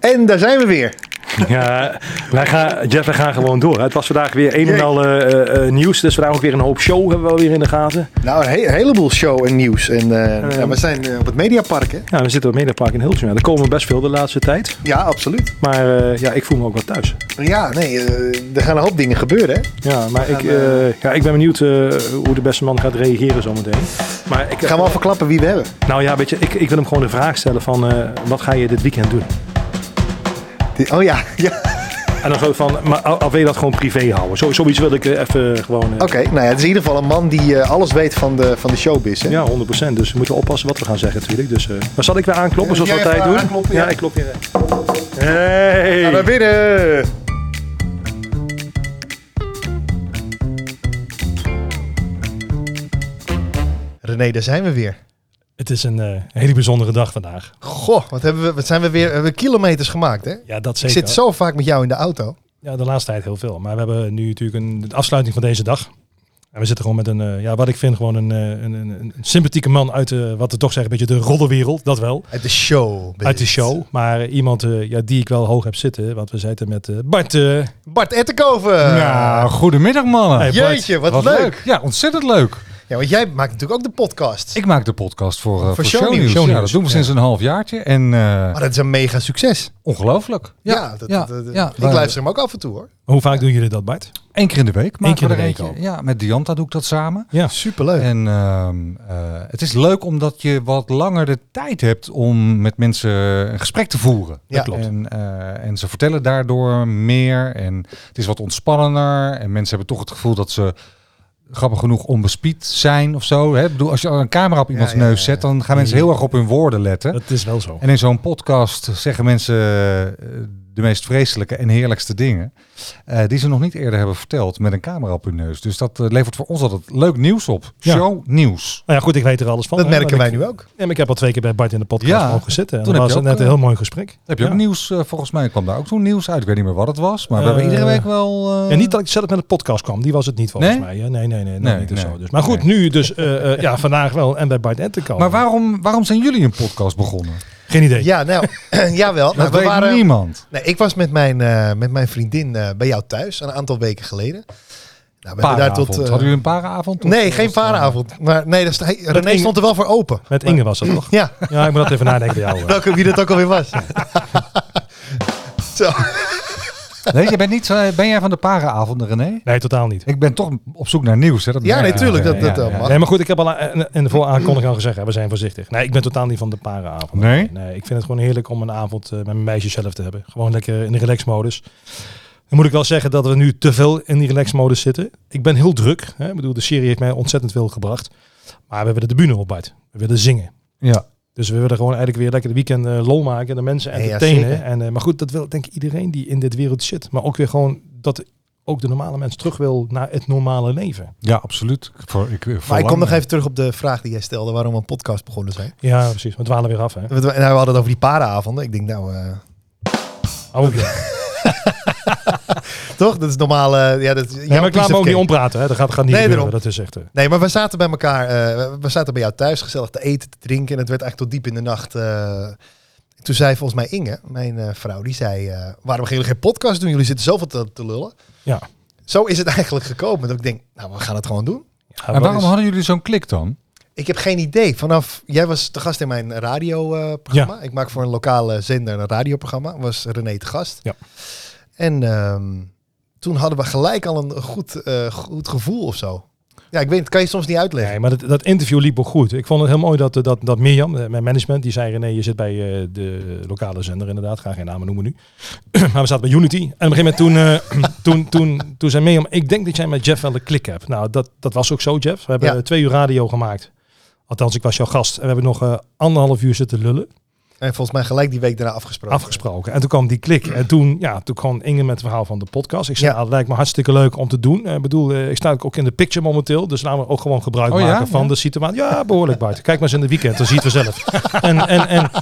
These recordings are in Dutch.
En daar zijn we weer. Ja, wij gaan, Jeff, wij gaan gewoon door. Het was vandaag weer een en al eh, eh, nieuws. Dus vandaag ook weer een hoop show hebben we weer in de gaten. Nou, een, he- een heleboel show en nieuws. En eh, ja, we zijn eh, op het Mediapark, hè? Ja, we zitten op Mediapark in Hilversum. Ja, er komen best veel de laatste tijd. Ja, absoluut. Maar eh, ja, ik voel me ook wel thuis. Ja, nee, eh, er gaan een hoop dingen gebeuren, hè? Ja, maar ik, gaan, eh, ja, ik ben benieuwd eh, hoe de beste man gaat reageren zometeen. Maar ik, Gaan we al verklappen wie we hebben? Nou ja, weet je, ik, ik wil hem gewoon de vraag stellen van eh, wat ga je dit weekend doen? Die- oh ja, ja. En dan zo van, maar al, al wil je dat gewoon privé houden. Zo, zoiets wil ik eh, even gewoon... eh, Oké, nou ja, het is in ieder geval een man die eh, alles weet van de, van de showbiz, hè? Ja, 100%. Dus we moeten oppassen wat we gaan zeggen natuurlijk. Dus, eh, maar zal ik weer aankloppen zoals we Jij altijd even doen? aankloppen, ja. ja. ik klop weer. Hey! Ga naar binnen! René, daar zijn we weer. Het is een eh, hele bijzondere dag vandaag. Goh, wat, hebben we, wat zijn we weer we hebben kilometers gemaakt, hè? Ja, dat Ik zeker. zit zo vaak met jou in de auto. Ja, de laatste tijd heel veel. Maar we hebben nu natuurlijk een, de afsluiting van deze dag. En we zitten gewoon met een, eh, ja, wat ik vind, gewoon een, eh, een, een, een sympathieke man uit de, wat we toch zeggen, een beetje de roddelwereld, dat wel. Uit de show. Uit de show. Maar iemand eh, ja, die ik wel hoog heb zitten, want we zitten met eh, Bart. eh, Bart Ettenkoven. Nou, goedemiddag mannen. Hey, Bart. Jeetje, Eh, wat, leuk. Ja, ontzettend leuk. Ja, want jij maakt natuurlijk ook de podcast. Ik maak de podcast voor, eh voor, shownieuws. shownieuws. Ja, Shownieuws, dat doen we ja. sinds een half jaartje en eh, Maar dat is een mega succes. ongelooflijk. Ja, dat, dat- dat- ik Maar luister hem ook af en toe hoor. hoe vaak doen jullie dat, Bart? Eén keer in de week. maken keer in we de er week eentje. Ja, met Dianta doe ik dat samen. Ja. Superleuk. En ehm, eh, het is leuk omdat je wat langer de tijd hebt om met mensen een gesprek te voeren. Ja. klopt. En, eh, en ze vertellen daardoor meer en het is wat ontspannender. En mensen hebben toch het gevoel dat ze grappig genoeg onbespied zijn of zo. Hè? Ik bedoel, als je een camera op iemands ja, neus ja. zet, dan gaan mensen heel erg op hun woorden letten. Dat is wel zo. En in zo'n podcast zeggen mensen eh, de meest vreselijke en heerlijkste dingen. eh, die ze nog niet eerder hebben verteld met een camera op hun neus. Dus dat eh, levert voor ons altijd leuk nieuws op. Ja. Show nieuws. Nou ja, goed, ik weet er alles van. dat hè, merken want wij ik- nu ook. Ja, maar ik heb al twee keer bij Bart in de podcast Ja, mogen zitten. En toen dat heb was je ook, net een eh, heel mooi gesprek. Heb je Ja. ook nieuws? eh, volgens mij kwam daar ook zo'n nieuws uit. Ik weet niet meer wat het was. Maar we Eh, hebben iedere week wel. eh, Ja, niet dat ik zelf met de podcast kwam. Die was het niet volgens Nee? mij. hè. Nee, nee, nee. nee, Nee, niet of nee. Zo, dus. Maar goed, nu dus eh, eh, ja, vandaag wel. En bij Bart en te komen. Maar waarom, waarom zijn jullie een podcast begonnen? Geen idee. Ja, nou, jawel. Nou, Dat we weet waren, niemand. nee, ik was met mijn, eh, met mijn vriendin eh, bij jou thuis een aantal weken geleden. Nou, we Parenavond. eh, Hadden jullie een parenavond? Of- Nee, geen parenavond. Maar nee, dat is- hij- René Inge- stond er wel voor open. Met Inge was dat toch? Ja, Ja, ik moet dat even nadenken bij jou. hoor. welke, wie dat ook alweer was. Zo. Nee, jij bent niet, zo- ben jij van de parenavonden, René? Nee, totaal niet. Ik ben toch op zoek naar nieuws. Hè? Dat Ja, merk nee, ik. tuurlijk, dat- dat, eh, mag. Nee, maar goed, ik heb al aan- in de vooraankondiging al gezegd, hè, we zijn voorzichtig. Nee, ik ben totaal niet van de parenavond. Nee? nee. Ik vind het gewoon heerlijk om een avond eh, met mijn meisje zelf te hebben. Gewoon lekker in de relaxmodus. Dan moet ik wel zeggen dat we nu te veel in die relaxmodus zitten. Ik ben heel druk. Hè. Ik bedoel, de serie heeft mij ontzettend veel gebracht. Maar we hebben de tribune op, Bart. We willen zingen. Ja. Dus we willen gewoon eigenlijk weer lekker de weekend eh, lol maken. en De mensen Nee, ja, entertainen. zeker. en, eh, maar goed, dat wil denk ik iedereen die in dit wereld zit. Maar ook weer gewoon dat ook de normale mens terug wil naar het normale leven. Ja, absoluut. Ik Voor, ik, Maar ik kom kom nog even terug op de vraag die jij stelde waarom we een podcast begonnen zijn. Ja, precies. We dwalen weer af, hè? Want we- nou, we hadden het over die parenavonden. Ik denk, nou, eh, Oh, ja. toch? Dat is normaal. eh, ja, dat, is Nee, jouw maar ik laat piece me of ook niet cake. ompraten. Hè. Dat gaat, gaat niet Nee, gebeuren. daarom. Dat is echt... eh, Nee, maar we zaten bij elkaar. eh, we zaten bij jou thuis gezellig te eten, te drinken. En het werd echt tot diep in de nacht. eh, toen zei volgens mij Inge, mijn eh, vrouw, die zei: eh, Waarom gaan jullie geen podcast doen? Jullie zitten zoveel te, te lullen. ja. Zo is het eigenlijk gekomen. Dat ik denk, nou, we gaan het gewoon doen. Ja, En wat waarom is- hadden jullie zo'n klik dan? Ik heb geen idee. Vanaf jij was te gast in mijn radioprogramma. Ik maak voor een lokale zender een radioprogramma. Was René te gast. Ja. En ehm, toen hadden we gelijk al een goed, eh, goed gevoel of zo. Ja, ik weet het. Kan je soms niet uitleggen. Nee, maar dat, dat interview liep ook goed. Ik vond het heel mooi dat, eh, dat, dat Mirjam, eh, mijn management, die zei... René, je zit bij eh, de lokale zender inderdaad. Ga geen namen noemen nu. maar we zaten bij Unity. En op een gegeven moment toen, eh, toen, toen, toen zei Mirjam... Ik denk dat jij met Jeff wel de klik hebt. Nou, dat, dat was ook zo, Jeff. We hebben Ja. eh, twee uur radio gemaakt. Althans, ik was jouw gast. En we hebben nog eh, anderhalf uur zitten lullen. En volgens mij gelijk die week daarna afgesproken. afgesproken. En toen kwam die klik. En toen, ja, toen kwam Inge met het verhaal van de podcast. Ik zei, Ja. nou, dat lijkt me hartstikke leuk om te doen. Eh, Ik bedoel, eh, ik sta ook in de picture momenteel. Dus laten we ook gewoon gebruik Oh ja? maken van Ja. de situatie. Ja, behoorlijk, Bart. Kijk maar eens in de weekend, dan zie je het vanzelf. en, en, en,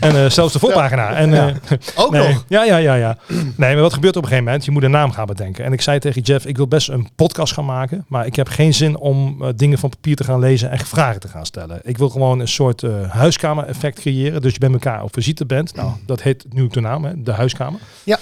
En eh, zelfs de voorpagina. En, eh, Ook nee. nog. Ja, ja, ja, ja. Nee, maar wat gebeurt op een gegeven moment? Je moet een naam gaan bedenken. En ik zei tegen Jeff, ik wil best een podcast gaan maken. Maar ik heb geen zin om eh, dingen van papier te gaan lezen en vragen te gaan stellen. Ik wil gewoon een soort eh, huiskamer-effect creëren. Dus je bij elkaar op visite bent. Nou, dat heet nu de naam, hè, de huiskamer. Ja.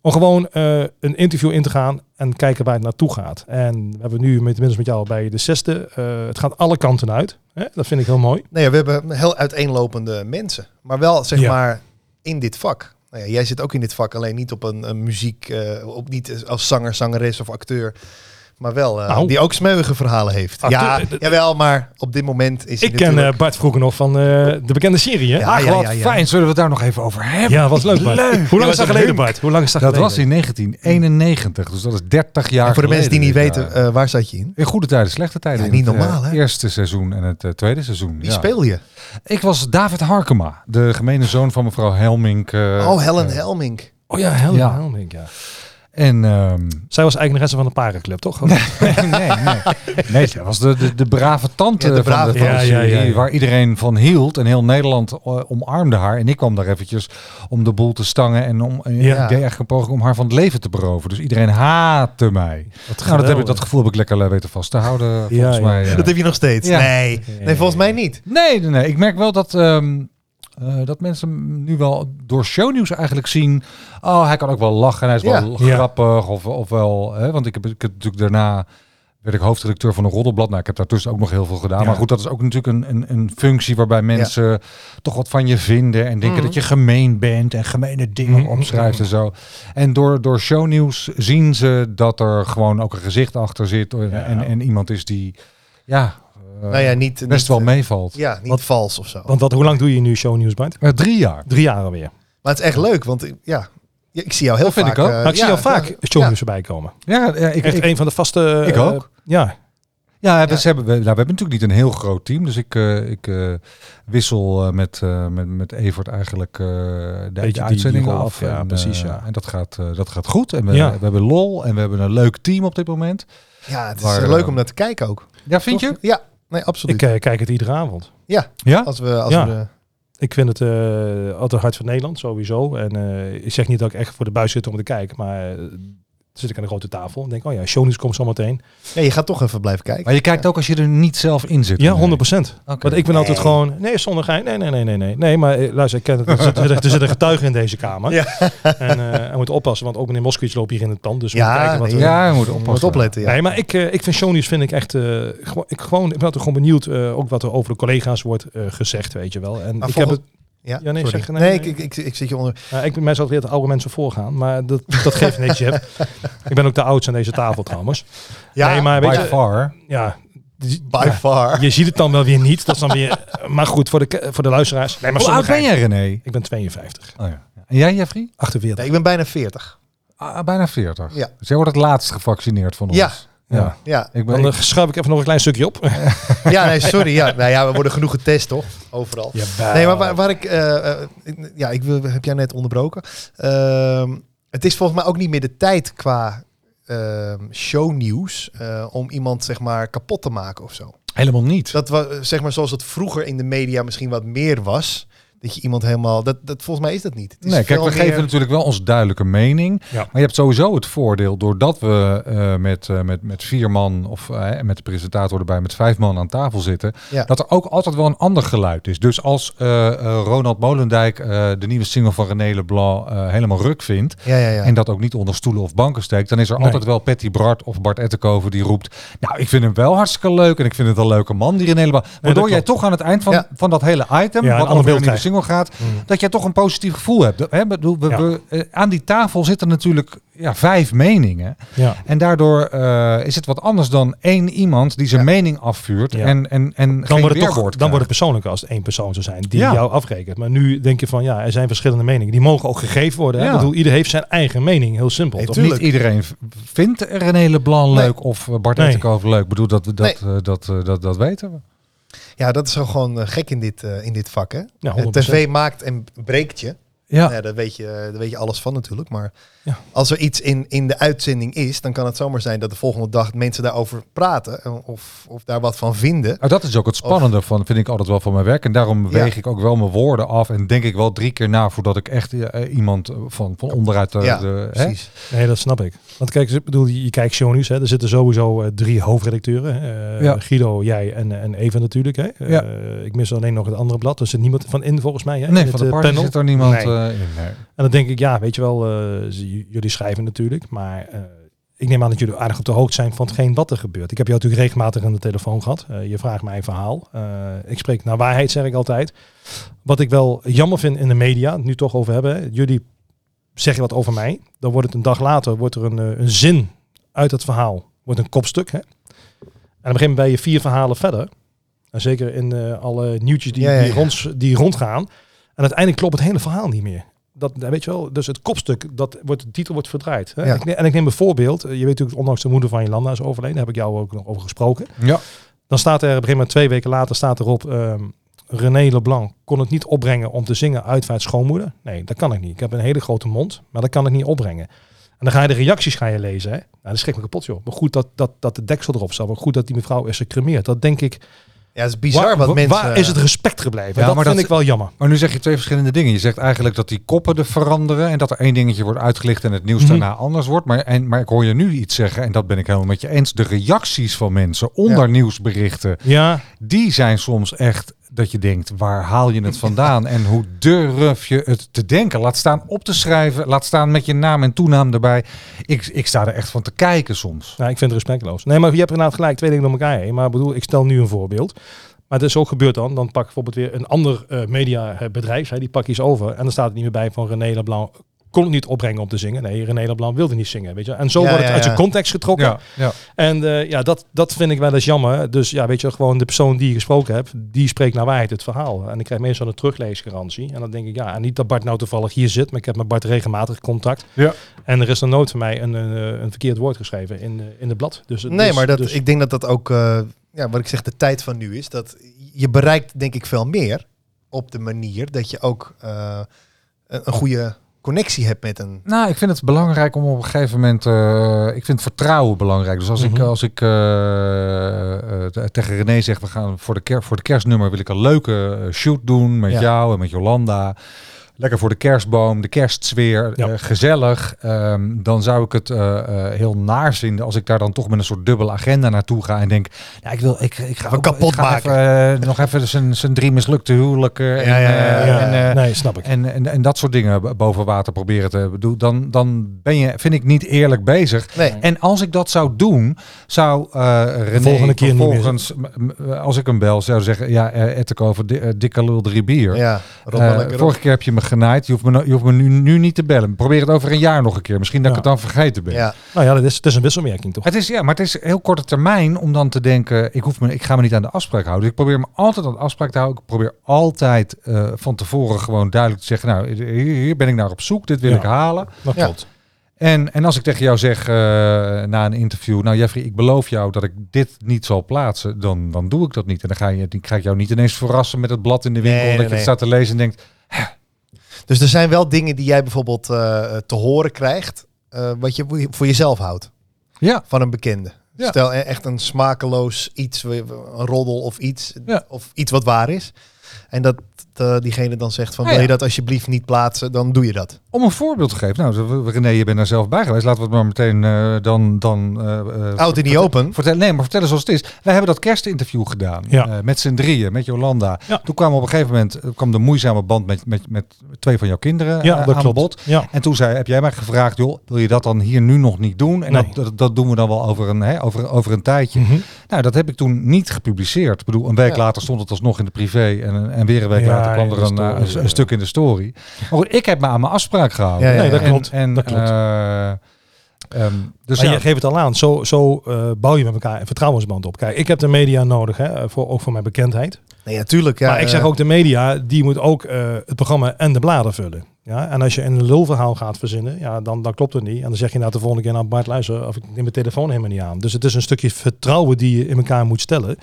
Om gewoon eh, een interview in te gaan en kijken waar het naartoe gaat. En we hebben nu met, inmiddels met jou bij de zesde. eh, het gaat alle kanten uit. Hè? Dat vind ik heel mooi. Nou ja, we hebben heel uiteenlopende mensen. Maar wel, zeg Ja. maar, in dit vak. Nou ja, jij zit ook in dit vak, alleen niet op een, een muziek... eh, op, niet als zanger, zangeres of acteur. Maar wel, eh, Nou. die ook smeuïge verhalen heeft. Acteur, ja, eh, d- jawel, maar op dit moment is hij Ik ken natuurlijk... eh, Bart vroeger nog van eh, de bekende serie. Hè? Ja, Ach, ja, wat ja, ja. fijn. Zullen we het daar nog even over hebben? Ja, was leuk, Bart. Hoe lang is dat geleden, Bart? Hoe lang is dat, Dat geleden? was in 1991, dus dat is 30 eh, jaar En voor de mensen die niet geleden, weten, ja. eh, waar zat je in? in goede tijden, slechte tijden. Ja, in niet het, eh, normaal, hè? eerste seizoen en het eh, tweede seizoen. Wie ja. speel je? Ik was David Harkema, de gemene zoon van mevrouw Helmink. eh, oh, Helen eh, Helmink. Oh ja, Helen Ja. Helmink, ja. En ehm, Zij was eigenaresse van de parenclub, toch? Nou, nee, nee. Nee, zij was de, de, de brave tante Ja, de van brave de, van de tante. Ja, ja, ja, serie, ja. waar iedereen van hield. En heel Nederland eh, omarmde haar. En ik kwam daar eventjes om de boel te stangen. En om, en Ja. ik deed echt een poging om haar van het leven te beroven. Dus iedereen haatte mij. Nou, dat, heb ik, dat gevoel heb ik lekker eh, weten vast te houden, volgens ja. mij. eh. ja. Dat heb je nog steeds. Ja. Nee. Ja, ja, nee, volgens ja. mij niet. Nee, nee, nee. Ik merk wel dat, ehm, eh, dat mensen nu wel door shownieuws eigenlijk zien... Oh, hij kan ook wel lachen en hij is wel Ja. grappig. Of, of wel... Hè, want ik heb, ik heb natuurlijk daarna... werd ik hoofdredacteur van een roddelblad. Nou, ik heb daartussen ook nog heel veel gedaan. Ja. Maar goed, dat is ook natuurlijk een, een, een functie... waarbij mensen toch wat van je vinden... en denken Mhm. dat je gemeen bent... en gemene dingen Mhm. opschrijft en zo. En door, door shownieuws zien ze dat er gewoon ook een gezicht achter zit... en, Ja. en, en iemand is die... Ja, eh, Nou ja, niet... best wel mee. meevalt. Ja, niet Wat- vals of zo. Want wat, hoe lang doe je nu shownieuws, Bart? Eh, drie jaar. Drie jaar Eh, alweer. maar het is echt leuk, want eh, ja, ja, ik zie jou heel Dat vind vaak. ik ook. eh, Maar ik zie ja, jou vaak ja. shownieuws erbij komen. Ja, ja, ik, Echt ik, een van de vaste... ik eh, ook. Ja. ja, we, Ja. ze hebben, we, nou, we hebben natuurlijk niet een heel groot team. Dus ik, eh, ik eh, wissel eh, met, eh, met, met Evert eigenlijk eh, de, die- de die uitzendingen rol af. af, ja, en, precies, eh, ja. En dat gaat, eh, dat gaat goed. En we, Ja. we hebben lol en we hebben een leuk team op dit moment. Ja, het is Maar, eh, eh, leuk om naar te kijken ook. Ja, vind Toch? je? Ja, nee, absoluut. Ik eh, kijk het iedere avond. Ja? als we, als Ja. we de- Ik vind het eh, altijd hart van Nederland, sowieso. En eh, ik zeg niet dat ik echt voor de buis zit om te kijken, maar... eh, zit ik aan de grote tafel en denk, oh ja, shownieuws komt zometeen. ja, je gaat toch even blijven kijken. Maar je kijkt ook als je er niet zelf in zit. Ja, 100%. Oké. Want ik ben altijd Nee. gewoon, nee, zonder gein. Nee, nee, nee, nee, nee. Nee, maar eh, luister, ik ken het. Er zitten er zitten getuigen in deze kamer. Ja. En eh hij moet oppassen, want ook meneer Moskowitz loopt hier in het pand. Dus we Ja, moeten kijken wat nee, er- Ja, je moet Je oppassen. moet opletten, ja. Nee, maar ik, eh, ik vind shownieuws vind ik echt... eh, gewoon, ik, gewoon, ik ben altijd gewoon benieuwd eh, ook wat er over de collega's wordt eh, gezegd, weet je wel. En Maar ik heb volgens- het, Ja, Ja, nee, sorry. zeg- nee, nee, nee. Ik, ik, ik, ik zit je onder... nou, ik ben mij altijd de oude mensen voorgaan, maar dat, dat geeft niks, Jeb. Ik ben ook de oudste aan deze tafel trouwens. Ja, nee, maar By weet je, far. ja, by far. je ziet het dan wel weer niet. Dat is dan weer, maar goed, voor de, ke- voor de luisteraars. Nee, maar Hoe oud sommige ben jij, René? Ik ben 52, Oh, ja. En jij, Jeffrey? 48. Nee, ik ben bijna 40. Ah, bijna 40. Ja. Dus jij wordt het laatst gevaccineerd van ons. Ja. ja. Ja, Ik ben, Dan eh, schuif ik even nog een klein stukje op. ja nee, sorry. Ja. Nou ja, we worden genoeg getest, toch? Overal. Nee, maar waar, waar ik... eh, eh, ik- ja, ik wil, heb jij net onderbroken. Ehm, het is volgens mij ook niet meer de tijd qua ehm, shownieuws... eh, om iemand, zeg maar, kapot te maken of zo. helemaal niet. Dat was, zeg maar, zoals het vroeger in de media misschien wat meer was... Dat je iemand helemaal... Dat, dat, volgens mij is dat niet. Het is Nee, kijk, veel we geven meer- natuurlijk wel onze duidelijke mening. Ja. Maar je hebt sowieso het voordeel, doordat we eh, met, eh, met, met vier man of eh, met de presentator erbij met vijf man aan tafel zitten, Ja. dat er ook altijd wel een ander geluid is. Dus als eh, eh, Ronald Molendijk eh, de nieuwe single van René Leblanc eh, helemaal ruk vindt, Ja, ja, ja. en dat ook niet onder stoelen of banken steekt, dan is er Nee. altijd wel Patty Bart of Bart Ettenkoven die roept, nou, ik vind hem wel hartstikke leuk en ik vind het een leuke man, die René Leblanc. Waardoor jij klopt. toch aan het eind van, Ja. van dat hele item, Ja, een ander wat over de beeld nieuwe single gaat, Mm. dat jij toch een positief gevoel hebt. Hè? Bedoel, we, Ja. we, eh, aan die tafel zitten natuurlijk ja, vijf meningen. Ja. En daardoor eh, is het wat anders dan één iemand die zijn Ja. weerwoord mening afvuurt Ja. en, en, en Dan geen wordt, het toch, weerwoord dan wordt krijgt. het persoonlijker als het één persoon zou zijn die Ja. jou afrekent. Maar nu denk je van ja, er zijn verschillende meningen. Die mogen ook gegeven worden. Hè? Ja. Ik bedoel, ieder heeft zijn eigen mening. Heel simpel. Nee, toch? tuurlijk. Niet iedereen v- vindt René Leblanc Nee. leuk of eh, Bart Nee. Ettenkoven leuk. Ik bedoel, dat, dat, eh, dat, eh, dat, dat weten we. Ja, dat is wel gewoon eh, gek in dit, eh, in dit vak, hè? Ja, Eh, 100%. TV maakt en breekt je. Ja. Nou ja, daar, weet je, daar weet je alles van natuurlijk. Maar Ja. als er iets in, in de uitzending is, dan kan het zomaar zijn dat de volgende dag mensen daarover praten. eh, Of, of daar wat van vinden. Nou, dat is ook het spannende van, vind ik altijd wel van mijn werk. En daarom weeg ik ook wel mijn woorden af. En denk ik wel drie keer na voordat ik echt eh, iemand eh, van, van onderuit eh, de, Ja, de- hè? Precies. Nee, dat snap ik. Want kijk, ik bedoel, je je kijkt shownieuws. Hè. Er zitten sowieso eh, drie hoofdredacteuren. hè. Eh, Ja. Guido, jij en, en Eva natuurlijk. Hè. Eh, Ja. ik mis alleen nog het andere blad. Er zit niemand van in volgens mij. Hè, in Nee, het, van de eh, party panel. zit er niemand Nee. eh, in. Nee. En dan denk ik, ja, weet je wel, eh, z- j- jullie schrijven natuurlijk, maar eh, ik neem aan dat jullie aardig op de hoogte zijn van hetgeen wat er gebeurt. Ik heb jou natuurlijk regelmatig aan de telefoon gehad. Eh, je vraagt mij een verhaal. Eh, ik spreek naar waarheid, zeg ik altijd. Wat ik wel jammer vind in de media, het nu toch over hebben, hè. jullie zeggen wat over mij, dan wordt het een dag later, wordt er een, eh, een zin uit het verhaal, wordt een kopstuk. Hè? En op een gegeven moment ben je vier verhalen verder. En zeker in eh, alle nieuwtjes die, Ja, ja, die, ja. Rond, die rondgaan. En uiteindelijk klopt het hele verhaal niet meer. Dat, eh, weet je wel, dus het kopstuk, dat wordt, de titel wordt verdraaid. Hè? Ja. Ik ne- en ik neem een voorbeeld. Eh, Je weet natuurlijk, ondanks de moeder van Jolanda is overleden. Daar heb ik jou ook nog over gesproken. Ja, Dan staat er op een gegeven moment twee weken later staat erop. ehm René Leblanc kon het niet opbrengen om te zingen Uitvaart schoonmoeder. Nee, dat kan ik niet. Ik heb een hele grote mond, maar dat kan ik niet opbrengen. En dan ga je de reacties gaan je lezen. Hè? Nou, dat schrik me kapot, joh. Maar goed dat, dat, dat de deksel erop staat. Maar goed dat die mevrouw is gecremeerd. Dat denk ik. Ja, het is bizar waar, wat wa- mensen... waar is het respect gebleven? Ja, dat maar vind dat- ik wel jammer. maar nu zeg je twee verschillende dingen. Je zegt eigenlijk dat die koppen er veranderen en dat er één dingetje wordt uitgelicht en het nieuws Mhm. daarna anders wordt. Maar, en, maar ik hoor je nu iets zeggen en dat ben ik helemaal met je eens. De reacties van mensen onder nieuwsberichten, Ja, die zijn soms echt dat je denkt, waar haal je het vandaan? En hoe durf je het te denken? Laat staan op te schrijven, laat staan met je naam en toenaam erbij. Ik, ik sta er echt van te kijken soms. Nou, ik vind het respectloos. Nee, maar je hebt inderdaad gelijk twee dingen door elkaar heen. Maar ik bedoel, ik stel nu een voorbeeld. Maar het is ook gebeurd dan. Dan pak ik bijvoorbeeld weer een ander eh, mediabedrijf. Hè, die pak je eens over. En dan staat het niet meer bij van René Leblanc kon het niet opbrengen om te zingen. Nee, René Leblanc wilde niet zingen. Weet je? wel. En zo Ja, wordt het ja, uit ja. zijn context getrokken. Ja, ja. En eh, ja, dat, dat vind ik wel eens jammer. Dus ja, weet je, wel, gewoon de persoon die je gesproken hebt, die spreekt naar waarheid het verhaal. En ik krijg meestal een terugleesgarantie. En dan denk ik, ja, en niet dat Bart nou toevallig hier zit, maar ik heb met Bart regelmatig contact. Ja. En er is dan nooit van mij een, een, eh, een verkeerd woord geschreven in, eh, in het blad. Dus, nee, dus- maar dat, dus- ik denk dat dat ook, eh, ja, wat ik zeg, de tijd van nu is. Dat je bereikt denk ik veel meer op de manier dat je ook eh, een, een goede connectie hebt met een... Nou, ik vind het belangrijk om op een gegeven moment. eh, ik vind vertrouwen belangrijk. Dus als ik, Mhm. als ik eh, eh, te- tegen René zeg, we gaan voor de, ker voor de kerstnummer wil ik een leuke eh, shoot doen met Ja. jou en met Jolanda. Lekker voor de kerstboom, de kerstsfeer, Ja. eh, gezellig. Ehm, dan zou ik het eh, eh, heel naar vinden als ik daar dan toch met een soort dubbele agenda naartoe ga en denk, ja, ik wil, ik, ik ga Even ook- kapot ik ga maken. even, eh, nog even zijn- zijn drie mislukte huwelijken. Ja, en, ja, ja, eh, ja, en, eh, nee, snap ik. en, en, en dat soort dingen b- boven water proberen te doen, dan, dan ben je, vind ik, niet eerlijk bezig. Nee, En als ik dat zou doen, zou eh René volgende keer niet meer vervolgens, m- m- als ik hem bel, zou zeggen, ja, eh Ettenkoven, di- eh, dikke lul drie bier. ja, rot maar Eh, lekker op. vorige keer heb je me genaaid, je hoeft me, no- je hoeft me nu, nu niet te bellen. Probeer het over een jaar nog een keer, misschien dat Ja. ik het dan vergeten ben. Ja, Nou ja, dat is, het is een wisselwerking toch? Het is, ja, maar het is heel korte termijn om dan te denken, ik, hoef me, ik ga me niet aan de afspraak houden. Dus ik probeer me altijd aan de afspraak te houden. Ik probeer altijd eh, van tevoren gewoon duidelijk te zeggen, nou, hier, hier ben ik naar op zoek, dit wil Ja. ik halen. Dat Ja. klopt. En, en als ik tegen jou zeg eh, na een interview, nou Jeffrey, ik beloof jou dat ik dit niet zal plaatsen, dan, dan doe ik dat niet. En dan ga, je, dan ga ik jou niet ineens verrassen met het blad in de winkel, Nee, dat nee, je het nee. staat te lezen en denkt, dus er zijn wel dingen die jij bijvoorbeeld eh, te horen krijgt, eh, wat je voor jezelf houdt. ja, Van een bekende. Ja. Stel eh, echt een smakeloos iets, eh, een roddel of iets, Ja. of iets wat waar is. En dat eh, diegene dan zegt van, Ah, wil je ja. dat alsjeblieft niet plaatsen, dan doe je dat. om een voorbeeld te geven. Nou, René, je bent daar zelf bij geweest. Laten we het maar meteen eh, dan... dan eh, eh, Out in the open. Vertel, nee, maar vertel eens zoals het is. Wij hebben dat kerstinterview gedaan. Ja. eh, met z'n drieën, met Jolanda. Ja. Toen kwam op een gegeven moment eh, kwam de moeizame band met, met, met twee van jouw kinderen Ja, eh, dat aan klopt. bod. Ja. En toen zei, heb jij mij gevraagd, joh, wil je dat dan hier nu nog niet doen? En Nee. dat, dat, dat doen we dan wel over een, hè, over, over een tijdje. Mhm. Nou, dat heb ik toen niet gepubliceerd. Ik bedoel, een Ja. week later stond het alsnog in de privé. En, en weer een week Ja, later kwam in er de een, story, eh, een, een ja. stuk in de story. Maar goed, ik heb me aan mijn afspraak gehouden. Ja, ja, Nee, dat En- klopt. En, Dat klopt. eh, ehm, dus maar ja, je geeft het al aan. Zo, zo eh, bouw je met elkaar een vertrouwensband op. Kijk, ik heb de media nodig, hè, voor, ook voor mijn bekendheid. Nee, natuurlijk. Ja, maar ik eh, zeg ook de media, die moet ook eh, het programma en de bladen vullen. Ja, en als je een lulverhaal gaat verzinnen, ja, dan, dan klopt het niet. En dan zeg je nou de volgende keer, nou Bart, luister, of ik neem mijn telefoon helemaal niet aan. Dus het is een stukje vertrouwen die je in elkaar moet stellen.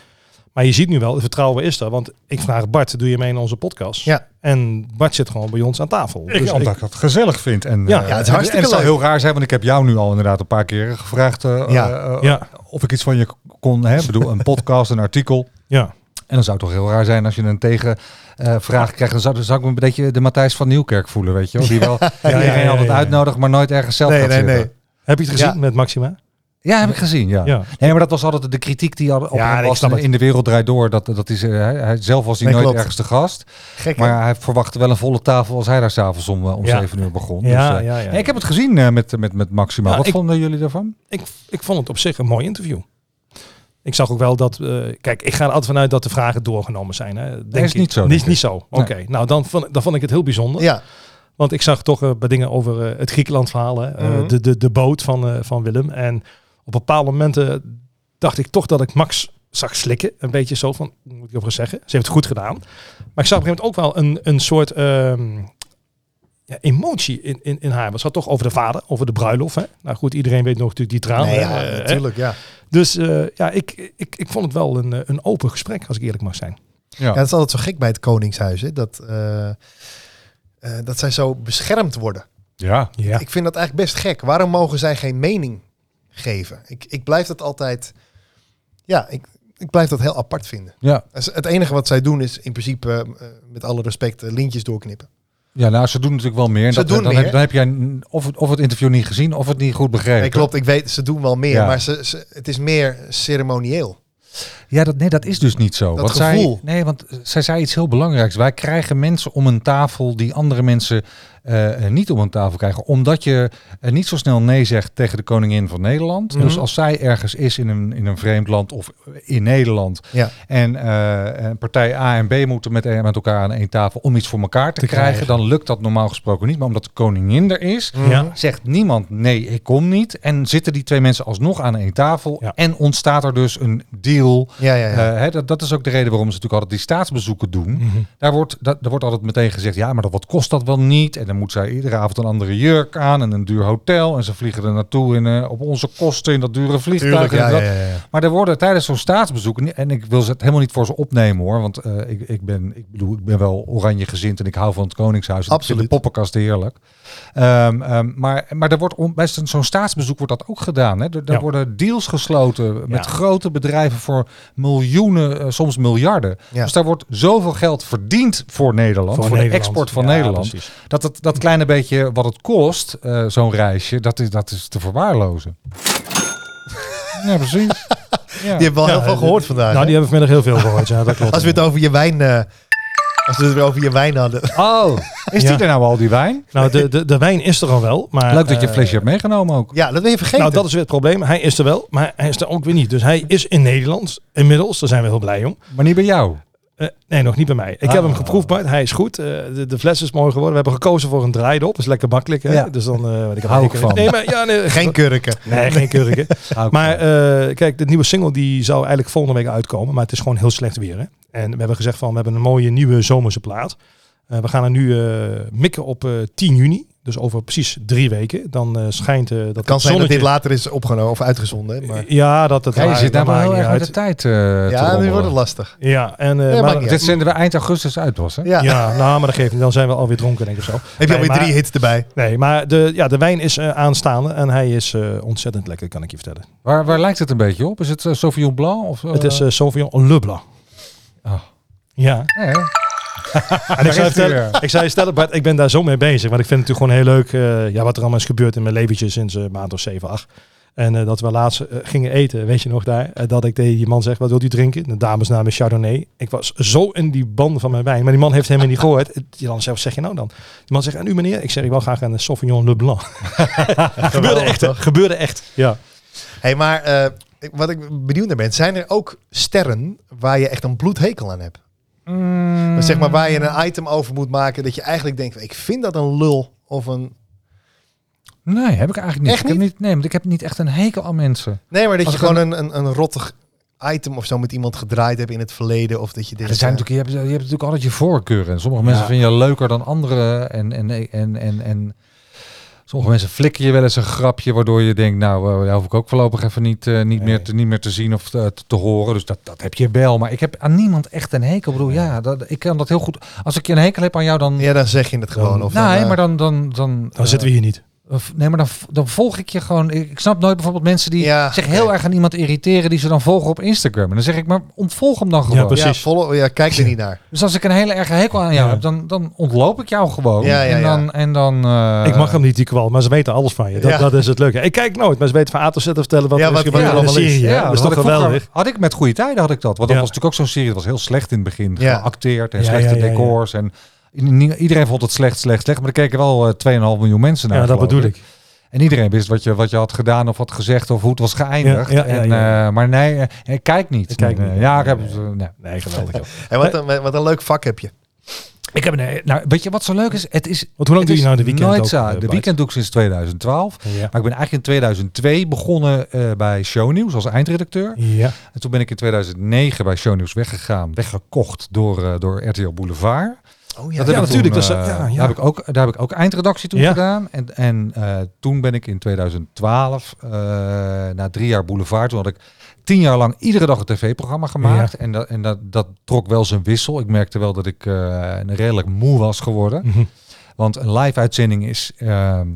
Maar je ziet nu wel, het vertrouwen is er. Want ik vraag Bart, doe je mee in onze podcast? Ja. En Bart zit gewoon bij ons aan tafel. Dus Ik, Dus omdat ik dat gezellig vind. En, Ja, eh, ja, het is en- hartstikke en het zou leuk. heel raar zijn, want ik heb jou nu al inderdaad een paar keer gevraagd eh, Ja. eh, Ja. of ik iets van je kon. Hè? Ik bedoel, een podcast, een artikel. ja. En dan zou het toch heel raar zijn als je een tegenvraag krijgt. Dan zou, dan zou ik me een beetje de Matthijs van Nieuwkerk voelen, weet je wel. Die wel ja, iedereen ja, altijd ja, ja. uitnodigt, maar nooit ergens zelf Nee, gaat nee, zitten. nee. Heb je het gezien Ja. met Maxima? Ja, heb ik gezien, ja. Ja. Nee, maar dat was altijd de kritiek die al op Ja, hem ik was snap in, het. in de wereld draait door. Dat, dat is, eh, hij, hij- zelf was hij Nee, nooit klopt. ergens te gast. Gek, hè? Maar hij verwachtte wel een volle tafel als hij daar s'avonds om, eh, om Ja. 7 uur begon. Ja, dus, eh, ja, ja. nee, ik heb het gezien eh, met, met, met Maxima. Nou, Wat ik- vonden jullie daarvan? Ik, ik vond het op zich een mooi interview. Ik zag ook wel dat... eh, kijk, ik ga er altijd vanuit dat de vragen doorgenomen zijn. Hè. Denk is ik. niet zo, denk Niet, ik. niet zo. Oké. Nou, dan vond, dan vond ik het heel bijzonder. Ja, Want ik zag toch eh, bij dingen over eh, het Griekenland verhaal. hè. Eh, Mhm. de, de, de boot van, eh, van Willem. En op bepaalde momenten dacht ik toch dat ik Max zag slikken. Een beetje zo van, moet ik overigens zeggen. Ze heeft het goed gedaan. Maar ik zag op een gegeven moment ook wel een, een soort ehm, ja, emotie in, in, in haar. Want ze had toch over de vader, over de bruiloft. Hè? Nou goed, iedereen weet nog natuurlijk die tranen. nee, ja eh, hè. natuurlijk, ja. dus eh, ja, ik, ik, ik vond het wel een, eh, een open gesprek, als ik eerlijk mag zijn. Ja, het is altijd zo gek bij het Koningshuis, hè, dat, eh, eh, dat zij zo beschermd worden. ja. Ja. Ik vind dat eigenlijk best gek. Waarom mogen zij geen mening geven? Ik, ik blijf dat altijd, ja, ik, ik blijf dat heel apart vinden. ja. Dus Het enige wat zij doen is in principe, eh, met alle respect, eh, lintjes doorknippen. Ja, nou, ze doen natuurlijk wel meer. En Ze doen dan, meer. Heb, dan heb jij n- of het, of het interview niet gezien of het niet goed begrepen. Nee, klopt, ik weet, ze doen wel meer, Ja. maar ze, ze, het is meer ceremonieel. Ja, dat, nee, dat is dus niet zo. Dat want gevoel. Zij, nee, want eh, zij zei iets heel belangrijks. Wij krijgen mensen om een tafel die andere mensen eh, eh, niet om een tafel krijgen. Omdat je eh, niet zo snel nee zegt tegen de koningin van Nederland. Mhm. Dus als zij ergens is in een, in een vreemd land of in Nederland. Ja. En eh, en partij A en B moeten met, eh, met elkaar aan één tafel om iets voor elkaar te, Te krijgen, krijgen. Dan lukt dat normaal gesproken niet. Maar omdat de koningin er is, Mm. Ja. zegt niemand nee, ik kom niet. En zitten die twee mensen alsnog aan één tafel. Ja. En ontstaat er dus een deal. Ja, Mhm. ja, ja. Eh, hè, dat, dat is ook de reden waarom ze natuurlijk altijd die staatsbezoeken doen. Daar wordt, dat, daar wordt altijd meteen gezegd, ja, maar dat, wat kost dat wel niet? En dan moet zij iedere avond een andere jurk aan en een duur hotel. En ze vliegen er naartoe in, eh, op onze kosten in dat dure vliegtuig. Tuurlijk, en ja, dat. ja, ja, ja. Maar er worden tijdens zo'n staatsbezoek, ni- en ik wil ze het helemaal niet voor ze opnemen hoor, want eh, ik, ik, ben, ik, bedoel, ik ben wel oranje gezind en ik hou van het Koningshuis. En Ik vind Absoluut. de poppenkast heerlijk. Ehm, ehm, maar, maar er wordt om, bij zo'n zo'n staatsbezoek wordt dat ook gedaan. Hè? Er, er Ja. worden deals gesloten met Ja. grote bedrijven voor miljoenen, eh, soms miljarden. Ja. Dus daar wordt zoveel geld verdiend voor Nederland, voor, de export van Ja, Nederland. precies. Dat, dat, dat kleine beetje wat het kost, eh, zo'n reisje, dat is, dat is te verwaarlozen. Ja, precies. Ja. Die hebben wel Ja, heel veel eh, gehoord vandaag. Nou, hè? die hebben vanmiddag heel veel gehoord. Ja, dat klopt. Als we het over je wijn, eh, als we het weer over je wijn hadden. Oh, is die Ja. er nou al, die wijn? Nou, de, de, de wijn is er al wel. Maar, Leuk dat je een eh, flesje hebt meegenomen ook. Ja, dat ben je vergeten. Nou, dat is weer het probleem. Hij is er wel, maar hij is er ook weer niet. Dus hij is in Nederland inmiddels. Daar zijn we heel blij om. Maar niet bij jou. Eh, nee, nog niet bij mij. Ik Ah. heb hem geproefd, Bart. Hij is goed. Eh, de, de fles is mooi geworden. We hebben gekozen voor een draaidop. Dat is lekker makkelijk. Hè? Ja. Dus dan... eh, want ik heb Hou ik geen- van. Nee, maar... Ja, nee, Geen kurken. Nee, geen kurken. Hou ik Maar van. eh, kijk, de nieuwe single die zou eigenlijk volgende week uitkomen. Maar het is gewoon heel slecht weer. Hè? En we hebben gezegd van, we hebben een mooie nieuwe zomerse plaat. Eh, we gaan er nu eh, mikken op eh, 10 juni. Dus over precies drie weken. Dan eh, schijnt eh, dat Het kan het zijn dat dit zonnetje- Eh, later is opgenomen of uitgezonden. hè, Maar Ja, dat het Ja, je waar- eh, zit daar dat wel maakt heel niet erg met de uit. tijd eh, te ja, nu rommelen. wordt het lastig. Ja, en eh, Ja, maar, maakt niet Dit zenden we eind augustus uit, was hè? Ja. ja, nou, maar dat geeft niet. Dan zijn we alweer dronken, denk ik of zo. Heb je Nee, alweer maar- drie hits erbij? Nee, maar de, ja, de wijn is eh, aanstaande en hij is eh, ontzettend lekker, kan ik je vertellen. Waar, waar lijkt het een beetje op? Is het eh, Sauvignon Blanc? Of, eh, Het is eh Sauvignon Le Blanc. Ah. Ja, nee, hè? en ik is hij zou, je vertellen, weer. ik zou je vertellen, Bart, ik ben daar zo mee bezig. Want ik vind het natuurlijk gewoon heel leuk eh, ja, wat er allemaal is gebeurd in mijn leventje sinds een maand of 7, 8. En eh, dat we laatst eh, gingen eten, weet je nog daar, eh, dat ik tegen die man zeg, wat wilt u drinken? De damesnaam is Chardonnay. Ik was zo in die ban van mijn wijn, maar die man heeft helemaal niet gehoord. Die man zegt, wat zeg je nou dan? Die man zegt, aan u meneer? Ik zeg, ik wil graag een Sauvignon Le Blanc. gebeurde echt, hè? toch? gebeurde echt. Ja. hey, maar eh, ik- wat ik benieuwd naar ben, zijn er ook sterren waar je echt een bloedhekel aan hebt? Mm. Zeg maar waar je een item over moet maken dat je eigenlijk denkt, ik vind dat een lul of een... Nee, heb ik eigenlijk niet. Echt Ik heb niet nee, want ik heb niet echt een hekel aan mensen. Nee, maar dat Als je ik gewoon een, een, een rottig item of zo met iemand gedraaid hebt in het verleden of dat je dit... eh, Er zijn natuurlijk, je, hebt, je hebt natuurlijk altijd je voorkeuren. En sommige mensen Ja. vinden je leuker dan anderen. En, en, en, en, en Sommige mensen flikken je wel eens een grapje, waardoor je denkt, nou, eh, daar hoef ik ook voorlopig even niet, eh, niet, meer, te, niet meer te zien of te, te- te horen. Dus dat, dat heb je wel. Maar ik heb aan niemand echt een hekel. Ik bedoel, ja, dat, ik kan dat heel goed. Als ik je een hekel heb aan jou, dan... Ja, dan zeg je het gewoon. Of dan, nee, eh, maar dan... dan, dan, Dan zitten we hier niet. eh, v- Nee, maar dan, v- dan volg ik je gewoon. Ik ik snap nooit bijvoorbeeld mensen die Ja, zich oké. heel erg aan iemand irriteren die ze dan volgen op Instagram. En dan zeg ik, maar ontvolg hem dan gewoon. precies. Ja, follow, ja, kijk er niet naar. Dus als ik een hele erge hekel aan jou Ja. heb, dan, dan ontloop ik jou gewoon. Ja, ja, En ja. dan... En dan eh, ik mag hem niet, die kwal, maar ze weten alles van je. Dat, Ja. dat is het leuke. Ik kijk nooit, maar ze weten van A tot Z te vertellen wat Ja, er is wat- gebeurd ja, in de precies. serie. hè? dat dat is had toch ik vroeger- geweldig? Had ik met goede tijden had ik dat. Want dat Ja. was natuurlijk ook zo'n serie. Dat was heel slecht in het begin. Ja. Geacteerd en Ja, ja, slechte ja, ja. decors. En in- in- iedereen vond het slecht, slecht, slecht. Maar er keken wel eh, 2,5 miljoen mensen naar. Ja, dat Nou, geloof bedoel ik. En iedereen wist wat je, wat je had gedaan of had gezegd of hoe het was geëindigd. Ja, ja, ja, en, ja. eh, maar nee, eh, eh, kijk niet. Ik kijk Nee, niet. eh, Ja, ik heb, Nee. eh, nee. Nee, geweldig. joh. En wat een, wat een leuk vak heb je. Ik heb een, nou, weet je wat zo leuk is? Het is Want hoe lang het doe je is nou de weekend nooit ook, saai. eh, de Bart? weekend doe ik sinds 2012. Ja. Maar ik ben eigenlijk in 2002 begonnen eh, bij Shownieuws als eindredacteur. Ja. En toen ben ik in 2009 bij Shownieuws weggegaan, weggekocht door, eh, door RTL Boulevard. Oh ja, Dat ja, heb ik natuurlijk, toen, dat is- eh, ja, ja. Daar, heb ik ook, daar heb ik ook eindredactie toen Ja. gedaan. En, en eh, toen ben ik in 2012, eh, na drie jaar Boulevard, toen had ik tien jaar lang iedere dag een tv-programma gemaakt. En, dat, en dat, dat trok wel zijn wissel. Ik merkte wel dat ik eh, redelijk moe was geworden. Mhm. Want een live uitzending is ehm,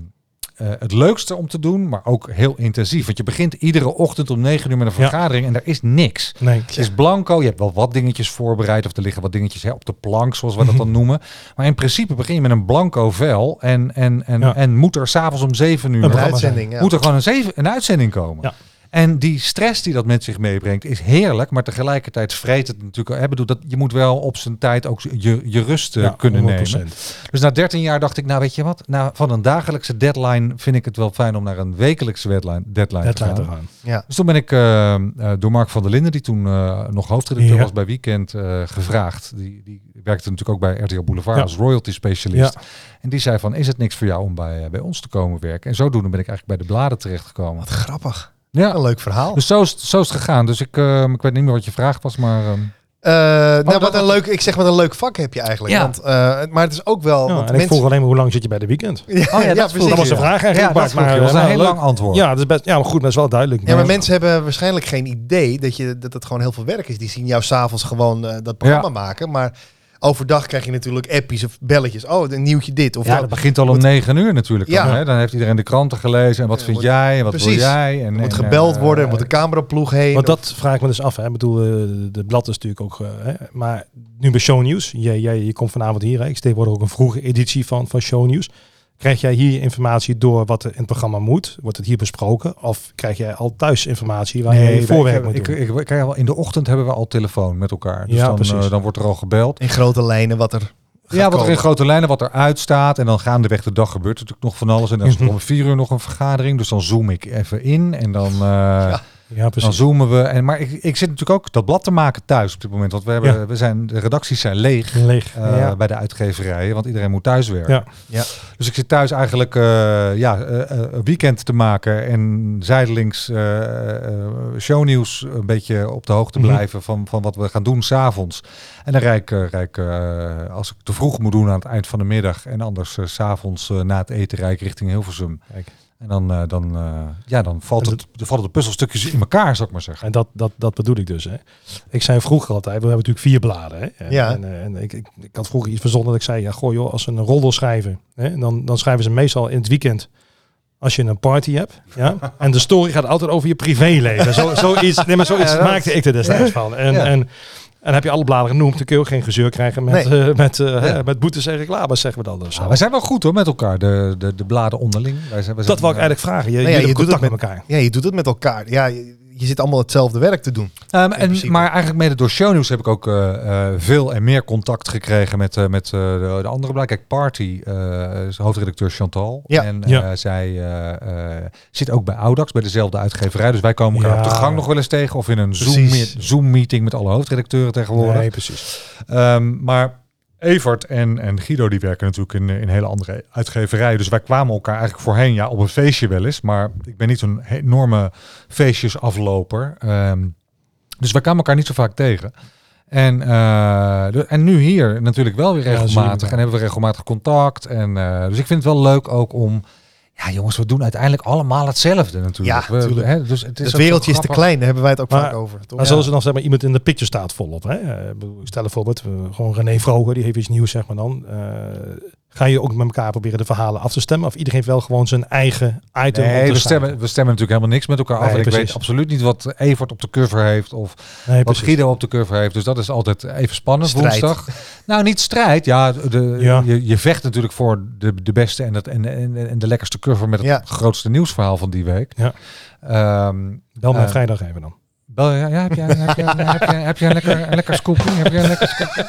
eh, het leukste om te doen, maar ook heel intensief. Want je begint iedere ochtend om 9 uur met een Ja. vergadering en daar is niks. Nee. Het is blanco, je hebt wel wat dingetjes voorbereid of er liggen wat dingetjes hè, op de plank, zoals we dat dan noemen. Maar in principe begin je met een blanco vel en, en, en, Ja. en moet er s'avonds om 7 uur Een een programma uitzending. Ja. moet er gewoon een, zeven, een uitzending komen. Ja. En die stress die dat met zich meebrengt is heerlijk, maar tegelijkertijd vreet het natuurlijk. Hè, bedoel, dat, je moet wel op zijn tijd ook je, je rust eh, Ja, kunnen 100%. nemen. Dus na 13 jaar dacht ik, nou weet je wat, na, van een dagelijkse deadline vind ik het wel fijn om naar een wekelijkse deadline, deadline Dat te gaan. laat er gaan. ja. Dus toen ben ik eh, eh, door Mark van der Linden, die toen eh, nog hoofdredacteur Ja. was bij Weekend, eh, gevraagd. Die, die werkte natuurlijk ook bij RTL Boulevard Ja. als royalty Ja. specialist. En die zei van, is het niks voor jou om bij, eh, bij ons te komen werken? En zodoende ben ik eigenlijk bij de bladen terechtgekomen. Wat grappig. Ja, Een leuk verhaal. dus zo is, het- zo is het gegaan. Dus ik, eh, ik weet niet meer wat je vraag was, maar... ehm, Eh, nou, dat- wat een leuk, ik zeg wat een leuk vak heb je eigenlijk. Ja. Want, eh, maar het is ook wel. Ja, en want ik mensen- vroeg alleen maar hoe lang zit je bij de weekend? Ja, dat ja, vroeg- precies. Dat was de vraag eigenlijk. ja, Bart, dat maar, maar, was eh, een heel leuk. lang antwoord. Ja, dat is best, ja, maar goed, maar dat is wel duidelijk. Ja, maar Maar- mensen hebben waarschijnlijk geen idee dat, je, dat het gewoon heel veel werk is. Die zien jou s'avonds gewoon eh, dat programma maken. Maar overdag krijg je natuurlijk appies of belletjes. Oh, een nieuwtje dit of Ja, dat. dat Nou, begint al om negen uur natuurlijk. Ja. Dan, hè? dan heeft iedereen de kranten gelezen. En wat Ja, vind wordt- jij? En wat wil precies. jij? En, Er moet en, gebeld eh, worden, er moet een cameraploeg heen. Want dat vraag ik me dus af. Hè. Ik bedoel, eh, de blad is natuurlijk ook... eh, hè. Maar nu bij Show News. Jij, jij, je komt vanavond hier. Hè. Ik steek worden ook een vroege editie van, van Show News. Krijg jij hier informatie door wat er in het programma moet? Wordt het hier besproken? Of krijg jij al thuis informatie waar je je wij- voorwerk ik- moet ik, doen? ik, ik- kijk, wel, in de ochtend hebben we al telefoon met elkaar. Dus Ja, dan, precies. eh, dan wordt er al gebeld. in grote lijnen wat er. gaat Ja, wat er in komen. grote lijnen, wat er uitstaat. En dan gaandeweg de dag gebeurt natuurlijk nog van alles. En dan is er Mhm. om vier uur nog een vergadering. Dus dan zoom ik even in. En dan, eh, ja, dan precies. zoomen we. En, maar ik, ik zit natuurlijk ook dat blad te maken thuis op dit moment. Want we hebben, we zijn, de redacties zijn leeg. Leeg. eh, ja. bij de uitgeverijen, want iedereen moet thuis werken. Ja. Ja. Dus ik zit thuis eigenlijk eh, ja, eh, eh, een weekend te maken en zijdelings eh, eh, shownieuws een beetje op de hoogte Mhm. blijven van, van wat we gaan doen s'avonds. En dan rijk, eh, rijk eh, als ik te vroeg moet doen aan het eind van de middag en anders eh, s s'avonds na het eten rijk richting Hilversum. Kijk. En dan, eh, dan, eh, ja, dan valt En het, dan vallen de puzzelstukjes in elkaar, zou ik maar zeggen. En dat, dat, dat bedoel ik dus. Hè. Ik zei vroeger altijd, we hebben natuurlijk vier bladen. Hè. En, Ja. en, eh, en ik, ik, ik had vroeger iets verzonnen dat ik zei, ja, goh joh, als ze een roddel schrijven, hè, dan, dan schrijven ze meestal in het weekend als je een party hebt. Ja? En de story gaat altijd over je privéleven. Zo, zoiets, nee, maar zoiets Ja, dat- maakte ik er destijds van. En, Ja. en, en heb je alle bladen genoemd, dan kun je ook geen gezeur krijgen met, eh, met, eh, hè, met boetes en reclames, zeggen we dan. Dus, Ja, wij zijn wel goed hoor met elkaar, de, de, de bladen onderling. Wij zijn, wij dat wil zijn, ik eh, eigenlijk vragen. Je, ja, jullie je doet contact het met elkaar. Ja, je doet het met elkaar. Ja, je, je zit allemaal hetzelfde werk te doen. Ehm, en, principe. maar eigenlijk mede door shownieuws heb ik ook eh, eh, veel en meer contact gekregen met, eh, met eh, de, de andere bladen. Kijk, Party eh, is hoofdredacteur Chantal. Ja. En eh, Ja. zij eh, eh, zit ook bij Audax, bij dezelfde uitgeverij. Dus wij komen elkaar Ja. op de gang nog wel eens tegen. Of in een Precies. Zoom-meet- Zoom-meeting met alle hoofdredacteuren tegenwoordig. Nee, precies. Ehm, maar Evert en, en Guido die werken natuurlijk in, eh, in hele andere uitgeverijen. Dus wij kwamen elkaar eigenlijk voorheen ja, op een feestje wel eens. Maar ik ben niet zo'n enorme feestjesafloper. Ehm, dus wij kwamen elkaar niet zo vaak tegen. En, eh, de- en nu hier natuurlijk wel weer Ja, dat is regelmatig. jullie wel. en hebben we regelmatig contact. En, eh, dus ik vind het wel leuk ook om... Ja, jongens, we doen uiteindelijk allemaal hetzelfde natuurlijk. Ja, We- tuurlijk. hè, dus het is Het ook wereldje is zo te grappig. klein, daar hebben wij het ook Maar- vaak over. Toch? Maar zoals er dan zeg maar, iemand in de picture staat volop. Hè? Eh, ik bedoel, stel een voorbeeld, eh, gewoon René Vroger, die heeft iets nieuws zeg maar dan. Eh, ga je ook met elkaar proberen de verhalen af te stemmen? Of iedereen heeft wel gewoon zijn eigen item op Nee, te we schrijven? stemmen, we stemmen natuurlijk helemaal niks met elkaar af. Nee, en ik precies. weet absoluut niet wat Evert op de cover heeft of Nee, wat precies. Guido op de cover heeft. Dus dat is altijd even spannend Strijd. woensdag. Nou, niet strijd. Ja, de, Ja. Je, je vecht natuurlijk voor de, de beste en, het, en, en, en de lekkerste cover met het Ja. grootste nieuwsverhaal van die week. Ja. Ehm, Bel mij eh, vrijdag even dan. Bel, ja, ja, heb jij heb jij- heb jij- heb jij een lekker, een lekker scoopie? Heb jij een lekker scoopie?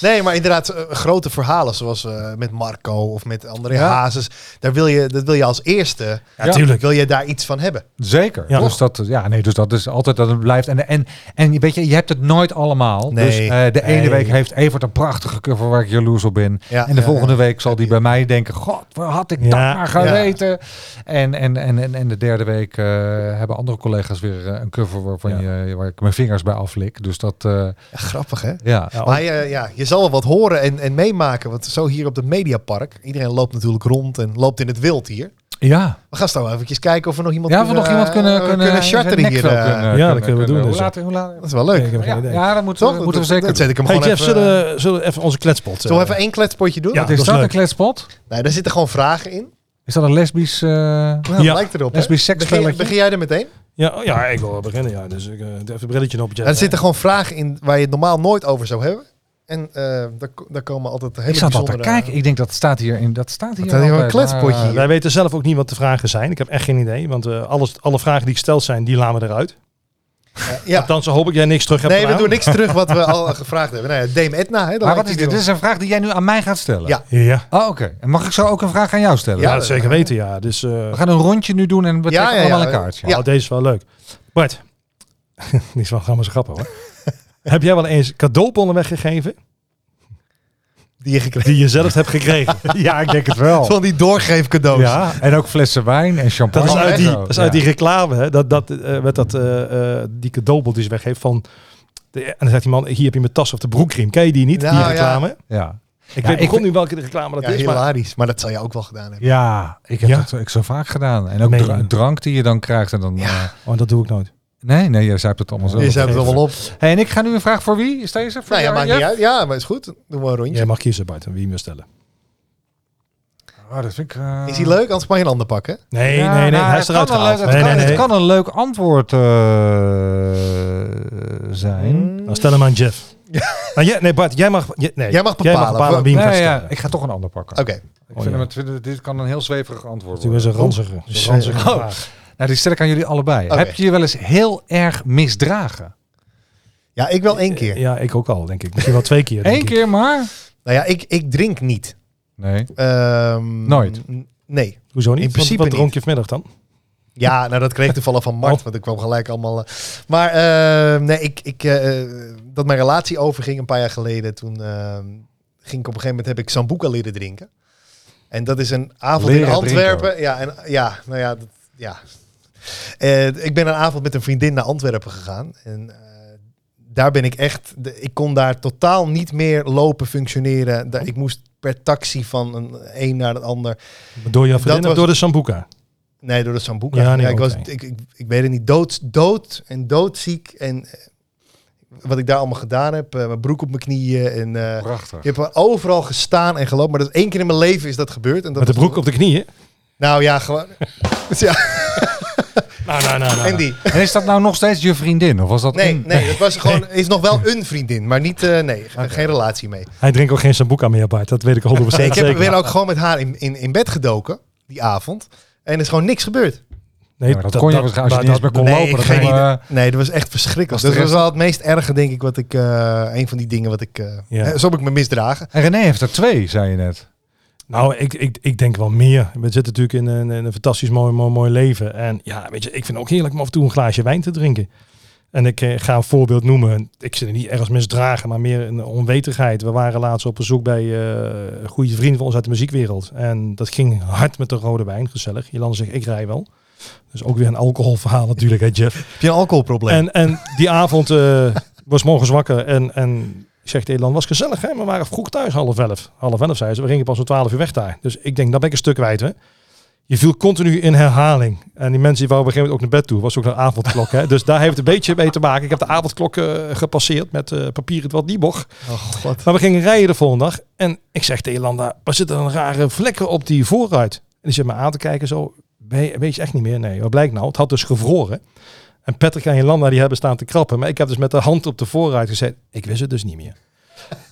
Nee, maar inderdaad, eh, grote verhalen zoals eh, met Marco of met André Ja. Hazes. Daar wil je, dat wil je als eerste, Ja, ja. tuurlijk. wil je daar iets van hebben. Zeker. Ja. Dus, dat, ja, nee, dus dat is altijd dat het blijft. En, en, en weet je, je hebt het nooit allemaal. Dus Nee. eh, de ene Nee. week heeft Evert een prachtige cover waar ik jaloers op ben. Ja, en de ja, volgende ja. week zal die bij mij denken, god, waar had ik Ja. dat maar Ja. geweten? En, en, en, en, en de derde week eh, hebben andere collega's weer eh, een cover waarvan Ja. je, waar ik mijn vingers bij aflik. Dus dat, eh, Ja, grappig, hè? ja. Ja, oh. Maar eh, ja, je zal wel wat horen en, en meemaken. Want zo hier op het Mediapark, iedereen loopt natuurlijk rond en loopt in het wild hier. Ja, We gaan straks wel eventjes kijken of we nog iemand ja of we kunnen, nog iemand kunnen, eh, kunnen, charteren zijn hier. nekvel eh. kunnen- dat kunnen we doen Hoe dus. laat, hoe laat, Dat is wel leuk. Ik heb geen Ja, idee. ja, dat moeten, Toch? we- moeten we Dat- zeker Dat doen. zet ik hem Hey gewoon Jeff, even... eh, zullen, we- zullen we even onze kletspot... Zullen we eh, even één kletspotje doen? Ja. Wat is dat dat, is leuk. een kletspot? Nee, daar zitten gewoon vragen in. Is dat een lesbisch... eh, Nou, Ja. lijkt erop. hè? Lesbisch Begin, seksspelletje? begin jij er meteen? ja, oh, ja, ik wil wel beginnen. Ja, dus ik, eh, doe even een brilletje op. Jeff. er zitten gewoon vragen in waar je het normaal nooit over zou hebben. En eh, daar, ko- daar komen altijd hele ik zat al te bijzondere... kijken. Ik denk dat staat hier in... Dat staat hier eh. staat hier wel een altijd, maar, kletspotje. Ja, wij weten zelf ook niet wat de vragen zijn. Ik heb echt geen idee. Want eh, alles, alle vragen die gesteld zijn, die laten we eruit. ja. Althans, hoop ik jij niks terug hebt Nee, we gedaan. doen niks terug wat we al gevraagd hebben. Nou ja, Dame Edna. Hè, eh, maar wat is dit? Dit is een vraag die jij nu aan mij gaat stellen. Ja. Ja, Oh, oké. En mag ik zo ook een vraag aan jou stellen? ja, Ja, dat zeker weten, ja. Dus eh, We gaan een rondje nu doen en we Ja, trekken ja, ja. allemaal een kaartje. Ja. oh, deze is wel leuk. Bart, die is wel grappig grappen hoor. heb jij wel eens cadeaubonnen weggegeven Die je gekregen die je zelf hebt gekregen? Ja, ik denk het wel. Oh. Van die doorgeefcadeaus. Ja, en ook flessen wijn en Dat champagne. is uit die, en zo. dat is uit Ja. die reclame, hè? Dat, dat, eh, werd dat, eh, eh, die cadeaubon die ze weggeeft van... De, en dan zegt die man, hier heb je mijn tas of de broekriem. Ken je die niet, Nou, die ja. reclame? Ja. Ik Ja, weet ik ik kon nu welke reclame dat Ja, is, maar hilarisch. Maar dat zou je ook wel gedaan hebben. Ja, ik heb Ja. dat ik zo vaak gedaan. En ook Meen je? dra- drank die je dan krijgt. En dan, eh, oh, dat doe ik nooit. nee, nee, jij hebt het allemaal zo. Je zet het allemaal op. Hey, en ik ga nu een vraag voor wie? Is deze? Voor Nou ja, jou, maakt Jeff? niet uit. Ja, maar is goed. Doe maar een rondje. Jij mag kiezen, Bart, aan wie je wil stellen. Ah, dat vind ik, eh, Is die leuk? Anders mag je een ander pakken. Nee, Ja, nee, nee. nou, hij het is eruit kan een gehaald. leuk- Het Nee, kan- nee, het nee. kan een leuk antwoord eh, zijn. Nou, stel hem aan Jeff. Maar jij- nee, Bart, jij mag, je- nee, Jij mag jij mag bepalen. bepalen wie Nee, hem gaat ja, stellen. ik ga toch een ander pakken. Oké. Ik Oh, vind ja. hem, het- vind- dit kan een heel zweverig antwoord Toen is worden. een ranzige. zo'n Dus, ranzige eh, vraag. Nou, die stel ik aan jullie allebei. Oké. Heb je je wel eens heel erg misdragen? Ja, ik wel één keer. Ja, ik ook al, denk ik. Misschien wel twee keer. denk Eén ik. keer maar? Nou ja, ik, ik drink niet. Nee. Ehm, Nooit? n- Nee. Hoezo niet? In In principe principe Wat dronk je vanmiddag dan? Ja, nou dat kreeg ik toevallig van Mart, Oh. want ik kwam gelijk allemaal... eh, maar eh, nee, ik, ik, eh, dat mijn relatie overging een paar jaar geleden, toen eh, ging ik op een gegeven moment, heb ik Sambuca leren drinken. En dat is een avond in Leren Antwerpen. Ja, en, ja, nou ja, dat, ja. Eh, ik ben een avond met een vriendin naar Antwerpen gegaan en... eh, Daar ben ik echt, de- ik kon daar totaal niet meer lopen, functioneren. Daar- Ik moest per taxi van een een naar het ander. Door je vriendin of was- door de Sambuca? Nee, door de Sambuca. Ja, Ja, nee, ik, was, oké. ik, ik, ik weet het niet. Dood, dood en doodziek. En eh, wat ik daar allemaal gedaan heb. eh, mijn broek op mijn knieën. En, eh, Prachtig. ik heb overal gestaan en gelopen. Maar dat is één keer in mijn leven is dat gebeurd. En dat Met de was- broek op de knieën? Nou ja, gewoon... ja, Nou, nou, nou. nou. en die. En is dat nou nog steeds je vriendin? Of was dat Nee, een- Mm. nee. Het was gewoon, is nog wel een vriendin. Maar niet, eh, nee, ge- geen relatie mee. Hij drinkt ook geen Sambuca meer, Bart. Dat weet ik 100% Nee, ik heb zeker. weer ook gewoon met haar in, in, in bed gedoken. Die avond. En er is gewoon niks gebeurd. Nee, Ja, maar dat, kon je waarschijnlijk als je niet maar eens meer kon nee, lopen. ik Dat geen ging, idee. eh, Nee, dat was echt verschrikkelijk. Was de dat was rest- wel het meest erge, denk ik, wat ik... eh, een van die dingen wat ik... eh, Ja. hè, Zo heb ik me misdragen. En René heeft er twee, zei je net. Nou, ik, ik, ik denk wel meer. We zitten natuurlijk in een, in een fantastisch mooi, mooi, mooi leven. En ja, weet je, ik vind het ook heerlijk om af en toe een glaasje wijn te drinken. En ik eh, ga een voorbeeld noemen. Ik zit er niet ergens misdragen, maar meer een onwetigheid. We waren laatst op bezoek bij eh, een goede vrienden van ons uit de muziekwereld. En dat ging hard met de rode wijn, gezellig. Jolanda zegt, ik rij wel. Dus ook weer een alcoholverhaal natuurlijk, hè Jeff. Heb je een alcoholprobleem? En, en die avond eh, was morgens wakker en, en zegt Elan, was gezellig hè, maar we waren vroeg thuis, half elf. Half elf zei ze, we gingen pas om twaalf uur weg daar. Dus ik denk, dan ben ik een stuk kwijt hè. je viel continu in herhaling. En die mensen die wouden op een gegeven moment ook naar bed toe. Was ook een avondklok. Hè? Dus daar heeft het een beetje mee te maken. Ik heb de avondklok eh, gepasseerd met eh papier het wat niet mocht. Oh god. Maar we gingen rijden de volgende dag. En ik zeg tegen Jolanda, waar zitten dan rare vlekken op die voorruit? En die zit me aan te kijken zo, "Ben je- weet je echt niet meer? Nee, wat blijkt nou? Het had dus gevroren. En Patrick en Jolanda die hebben staan te krappen. Maar ik heb dus met de hand op de voorruit gezet. Ik wist het dus niet meer.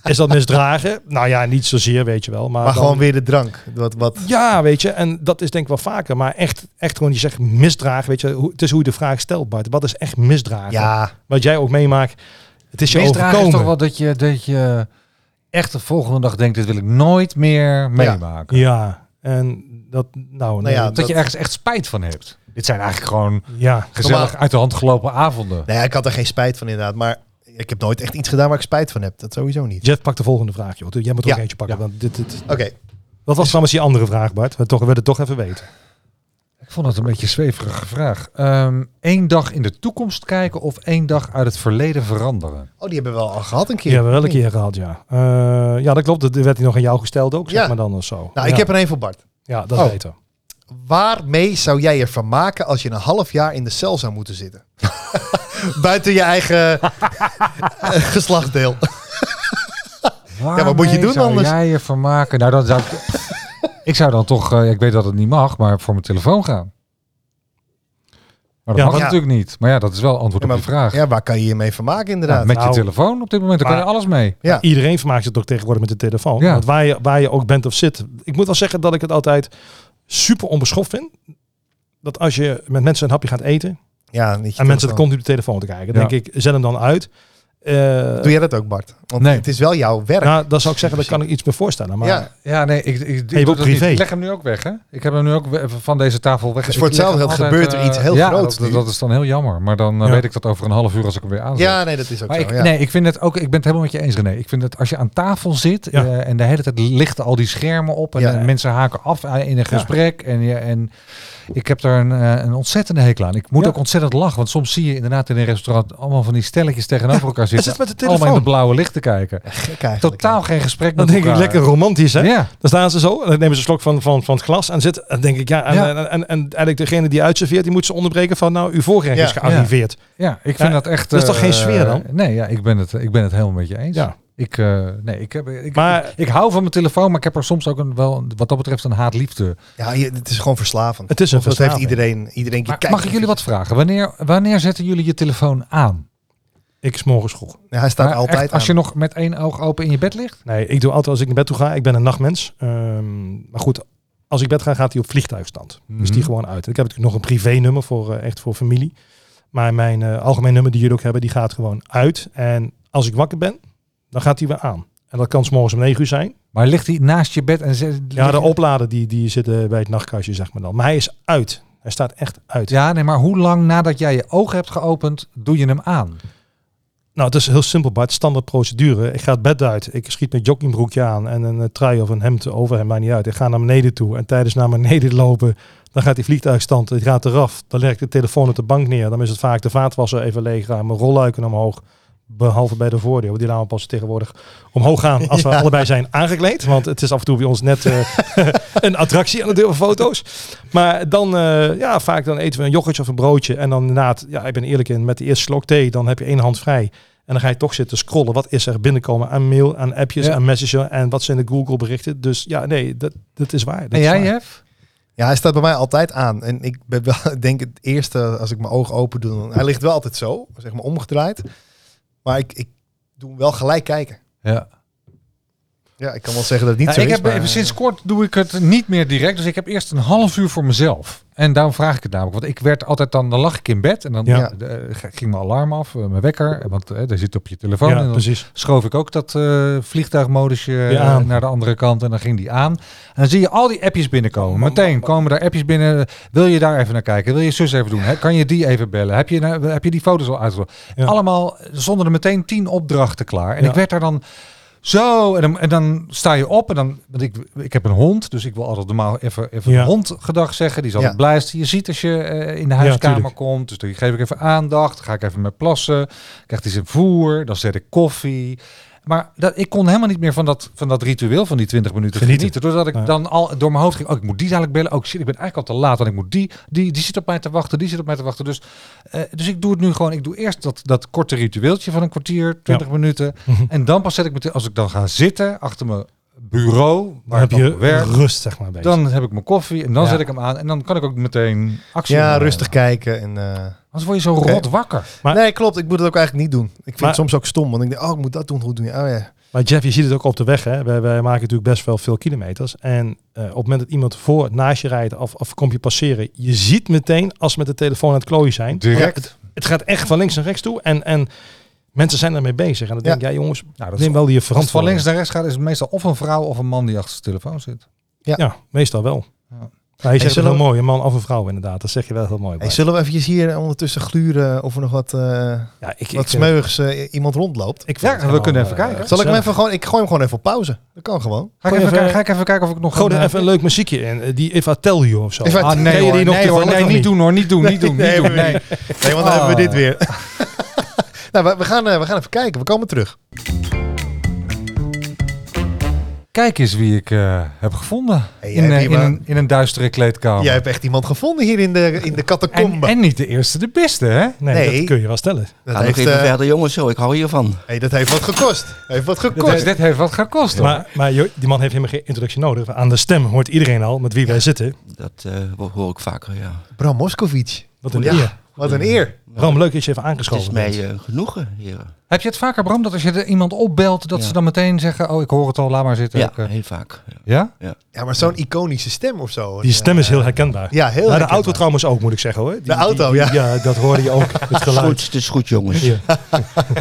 Is dat misdragen? Nou ja, niet zozeer, weet je wel. Maar, Maar dan- gewoon weer de drank. Wat, wat. Ja, weet je. En dat is denk ik wel vaker. Maar echt, echt gewoon, je zegt misdragen. Weet je, hoe, het is hoe je de vraag stelt, Bart. Wat is echt misdragen? Ja, Wat jij ook meemaakt. Het is je Misdragen is overkomen. toch wel dat je, dat je echt de volgende dag denkt, dit wil ik nooit meer meemaken. Ja, en dat, nou, nou ja. nee, Dat, je ergens echt spijt van hebt. Dit zijn eigenlijk gewoon ja. gezellig Normaal- uit de hand gelopen avonden. Nee, ik had er geen spijt van inderdaad. Maar ik heb nooit echt iets gedaan waar ik spijt van heb. Dat sowieso niet. Jeff, pak de volgende vraag, joh. Jij Ja. moet er Dus- ook eentje pakken. Want dit, dit, Oké. wat was trouwens die andere vraag, Bart? We toch, willen het toch even weten. Ik vond het een beetje een zweverige vraag. Eén dag in de toekomst kijken of één dag uit het verleden veranderen? Oh, die hebben we wel al gehad een keer. Die hebben we wel een Nee. keer gehad, ja. Eh, ja, dat klopt. Dat werd die nog aan jou gesteld ook, zeg Ja. maar dan of zo. Nou, ja. ik heb er een voor Bart. Ja, dat Oh. weten Waarmee zou jij ervan maken als je een half jaar in de cel zou moeten zitten? Buiten je eigen eh, geslachtsdeel. Ja, wat moet je doen anders? jij je van maken? Nou, dan zou ik... ik zou dan toch, eh, ik weet dat het niet mag, maar voor mijn telefoon gaan. Maar dat Ja, mag maar- natuurlijk niet. Maar ja, dat is wel antwoord Ja, op maar- je vraag. Ja, waar kan je je mee vermaken Ja, inderdaad? met Nou, je telefoon op dit moment, daar kan maar- je alles mee. Ja. Iedereen vermaakt zich toch tegenwoordig met de telefoon. Ja. Want waar je, waar je ook bent of zit. Ik moet wel zeggen dat ik het altijd super onbeschoft vind. Dat als je met mensen een hapje gaat eten. Ja, niet je en mensen telefoon. dat continu op de telefoon te kijken. Ja. denk ik, zet hem dan uit. Eh, Doe jij dat ook, Bart? Want Nee. het is wel jouw werk. nou, dat zou ik zeggen, daar kan ik iets meer voorstellen. Maar ja, Ja, nee, ik, ik, ik Hey, doe ook dat niet. privé. Ik leg hem nu ook weg, hè? Ik heb hem nu ook we- van deze tafel weg. Dus voor Ik leg hem hetzelfde geld altijd, gebeurt er eh, iets heel ja, groots Dat, nu. dat is dan heel jammer. Maar dan eh, Ja. weet ik dat over een half uur als ik hem weer aanzet. ja, nee, dat is ook Maar zo. ik, ja. nee, ik vind het ook. Ik ben het helemaal met je eens, René. Ik vind dat als je aan tafel zit Ja. eh, en de hele tijd lichten al die schermen op en, Ja. eh, mensen haken af eh, in een gesprek en je en ik heb daar een, eh, een ontzettende hekel aan. Ik moet Ja. ook ontzettend lachen, want soms zie je inderdaad in een restaurant allemaal van die stelletjes tegenover elkaar Is zitten, het met de allemaal in de telefoon? blauwe lichten kijken. Gek eigenlijk. Totaal geen gesprek. Dan met denk ik elkaar. lekker romantisch, hè? Ja. Dan staan ze zo, en dan nemen ze een slok van, van, van het glas en zitten. En denk ik, ja, en, Ja. En, en, en eigenlijk degene die uitserveert, die moet ze onderbreken van, nou, uw voorgerecht Ja. is gearriveerd. Ja, ik vind Ja, dat echt. dat is toch eh, geen sfeer dan? Nee, ja, ik ben het, ik ben het helemaal met je eens. Ja. Ik, eh, nee, ik, heb, ik, Maar- ik, ik hou van mijn telefoon, maar ik heb er soms ook een, wel, wat dat betreft een haat-liefde Ja, je- het is gewoon verslavend. Het is een Of dat heeft verslaving. iedereen. iedereen Maar kijkt- mag ik jullie wat vragen? Wanneer, wanneer zetten jullie je telefoon aan? Ik s'morgens vroeg. Ja, hij staat Maar altijd echt, als je aan. nog met één oog open in je bed ligt? Nee, ik doe altijd als ik naar bed toe ga. Ik ben een nachtmens. Ehm, maar goed, als ik bed ga, gaat hij op vliegtuigstand. Dus die Mhm. gewoon uit. Ik heb natuurlijk nog een privé-nummer voor eh, echt voor familie. Maar mijn eh, algemeen nummer die jullie ook hebben, die gaat gewoon uit. En als ik wakker ben, dan gaat hij weer aan. En dat kan s'morgens om 9 uur zijn. Maar ligt hij naast je bed en zet, Ja, de ligt- oplader die, die zit eh, bij het nachtkastje, zeg maar dan. Maar hij is uit. Hij staat echt uit. Ja, nee, maar hoe lang nadat jij je ogen hebt geopend, doe je hem aan? Nou, het is heel simpel, Bart. Standaard procedure. Ik ga het bed uit. Ik schiet mijn joggingbroekje aan en een eh, trui of een hemd over hem, maakt niet uit. Ik ga naar beneden toe. En tijdens naar beneden lopen, dan gaat die vliegtuigstand, het gaat eraf. Dan leg ik de telefoon op de bank neer. Dan is het vaak de vaatwasser even leeg aan, mijn rolluiken omhoog. Behalve bij de voordeur, want die laten we pas tegenwoordig omhoog gaan als we Ja. allebei zijn aangekleed. Want het is af en toe bij ons net eh, een attractie aan de deur van foto's. Maar dan, eh, ja, vaak dan eten we een yoghurtje of een broodje. En dan inderdaad, ja, ik ben eerlijk in, met de eerste slok thee, dan heb je één hand vrij. En dan ga je toch zitten scrollen. Wat is er binnenkomen aan mail, aan appjes, Ja. aan messenger en wat zijn de Google berichten. Dus ja, nee, dat, dat is waar. Dat En is jij, waar. Jeff? Ja, hij staat bij mij altijd aan. En ik ben wel, ik denk het eerste, als ik mijn ogen open doe... dan- Hij ligt wel altijd zo, zeg maar omgedraaid. Maar ik, ik doe hem wel gelijk kijken. Ja. Ja, ik kan wel zeggen dat het niet Nou, zo ik is, heb, maar, even eh, sinds kort doe ik het niet meer direct. Dus ik heb eerst een half uur voor mezelf. En daarom vraag ik het namelijk. Want ik werd altijd dan, dan lag ik in bed en dan Ja. eh, ging mijn alarm af, eh, mijn wekker. Want eh, daar zit op je telefoon. en Ja, dan precies. schoof ik ook dat eh vliegtuigmodusje eh, aan. naar de andere kant en dan ging die aan. En dan zie je al die appjes binnenkomen. bam, Meteen bam, bam. komen daar appjes binnen. Wil je daar even naar kijken? Wil je zus even doen? Hè, Kan je die even bellen? Heb je, nou- heb je die foto's al uitgezocht? Ja. Allemaal zonder er meteen tien opdrachten klaar. En Ja. ik werd daar dan zo. En dan, en dan sta je op en dan. Want ik, ik heb een hond, dus ik wil altijd normaal even, even Ja. een hond gedag zeggen. Die is altijd Ja. blij. als die Je ziet als je eh, in de huiskamer tuurlijk. komt. Dus dan geef ik even aandacht. Ga ik even met plassen. Krijgt hij zijn voer. Dan zet ik koffie. Maar dat, ik kon helemaal niet meer van dat, van dat ritueel van die 20 minuten Genieten. genieten. Doordat ik Ja. dan al door mijn hoofd ging, oh, ik moet die dadelijk bellen. Oh shit, ik ben eigenlijk al te laat, want ik moet die, die, die zit op mij te wachten, die zit op mij te wachten. Dus, eh, dus ik doe het nu gewoon, ik doe eerst dat, dat korte ritueeltje van een kwartier, 20 minuten. Mhm. En dan pas zet ik meteen, als ik dan ga zitten achter mijn bureau, Dan waar heb ik je dan werk, rust, zeg maar, bezig. dan heb ik mijn koffie en dan Ja. zet ik hem aan. En dan kan ik ook meteen actie Ja, ondernemen. rustig kijken. En, eh, Anders word je zo Oké. rot wakker. Maar- nee, klopt. Ik moet het ook eigenlijk niet doen. Ik vind Maar- het soms ook stom. Want ik denk, oh, ik moet dat doen. Hoe doe je? Oh, ja. Maar Jeff, je ziet het ook op de weg. Hè? Wij, wij maken natuurlijk best wel veel kilometers. En eh, op het moment dat iemand voor naast je rijdt of, of komt je passeren, je ziet meteen als ze met de telefoon aan het klooien zijn. Direct. Oh, Het, het gaat echt van links naar rechts toe. En, en mensen zijn daarmee bezig. En dan Ja. denk jij, jongens, Nou, dat is neem wel je Als het van links verantwoording. naar rechts gaat, is het meestal of een vrouw of een man die achter zijn telefoon zit. Ja, meestal wel. Ja. Ja. Nou, je zegt het zullen heel we- mooi, een man of een vrouw inderdaad. Dat zeg je wel heel mooi. Hey, Bart. zullen we eventjes hier ondertussen gluren of er nog wat, eh, ja, ik, ik wat vind- smeuigs eh, iemand rondloopt? ik vind Ja, het we helemaal, kunnen even eh, kijken. Zal ik hem gezellig. even gewoon... Ik gooi hem gewoon even op pauze. Dat kan gewoon. Ga Gooi ik, even, even- kijken- ga ik even kijken of ik nog Gooi er een, even een leuk muziekje in. Eh, Die If I Tell You of zo. If I- Ah, nee, Ken je die hoor, nog nee, hoor, toevallig nee, of niet niet? doen hoor, niet doen, niet doen, Nee, niet doen. nee, Nee. Nee, want dan Ah. hebben we dit weer. nou, we, we gaan, eh, we gaan even kijken. We komen terug. Kijk eens wie ik eh, heb gevonden Hey, jij in, eh, hebt in, iemand- een, in een duistere kleedkamer. Jij hebt echt iemand gevonden hier in de, in de en, catacombe. Oh. en niet de eerste, de beste, hè? Nee, Nee. dat kun je wel stellen. Dat, Ga nog heeft, even eh, verder, jongens. Zo, ik hou hiervan. hey, dat heeft wat gekost. Heeft wat Dit, heeft- gekost. dit heeft wat gekost. hoor. Maar, maar joh, die man heeft helemaal geen introductie nodig. Aan de stem hoort iedereen al met wie wij zitten. Dat eh, ho- hoor ik vaker, ja. Bram Moskovic. Wat een Ja. eer. Wat een eer. Bram, leuk dat je even Het is aangeschoven mij bent. eh, genoegen, heren. Heb je het vaker, Bram, dat als je er iemand opbelt, dat Ja. ze dan meteen zeggen, oh, ik hoor het al, laat maar zitten. Ja, Ik, eh, heel vaak. ja. ja? Ja, maar zo'n iconische stem of zo. Eh, Die stem is heel herkenbaar. Ja, heel Nou, de herkenbaar. auto trouwens ook, moet ik zeggen hoor. Die- De auto, die- die- ja. Ja, dat hoorde je ook. Het Het is goed, geluid. het is goed, jongens. Ja.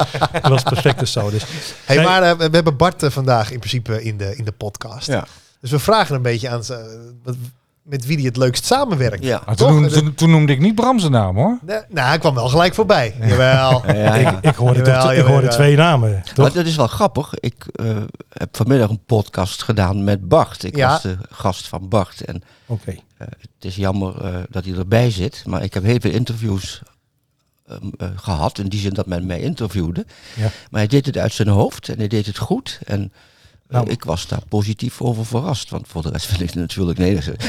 dat was perfect dus zo. Dus. Hey, Nee. maar eh, we we hebben Bart eh, vandaag in principe in de, in de podcast. Ja. Dus we vragen een beetje aan ze, eh, wat- met wie die het leukst samenwerkt. Ja. Ah, Toch? toen, noemde- Dat- toen, toen noemde ik niet Bram zijn naam, hoor. Nee, nou, hij kwam wel gelijk voorbij. Jawel. Ja, ja, ja. Ik hoorde, Jawel, toch, ik jawel, hoorde ja. twee namen. Toch? Maar dat is wel grappig. Ik eh, heb vanmiddag een podcast gedaan met Bart. Ik Ja. was de gast van Bart. En Oké. het is jammer eh, dat hij erbij zit. Maar ik heb heel veel interviews ehm, eh, gehad. In die zin dat men mij interviewde. Ja. Maar hij deed het uit zijn hoofd. En hij deed het goed. En eh, Nou. ik was daar positief over verrast. Want voor de rest vind ik het natuurlijk... Nee, dat is-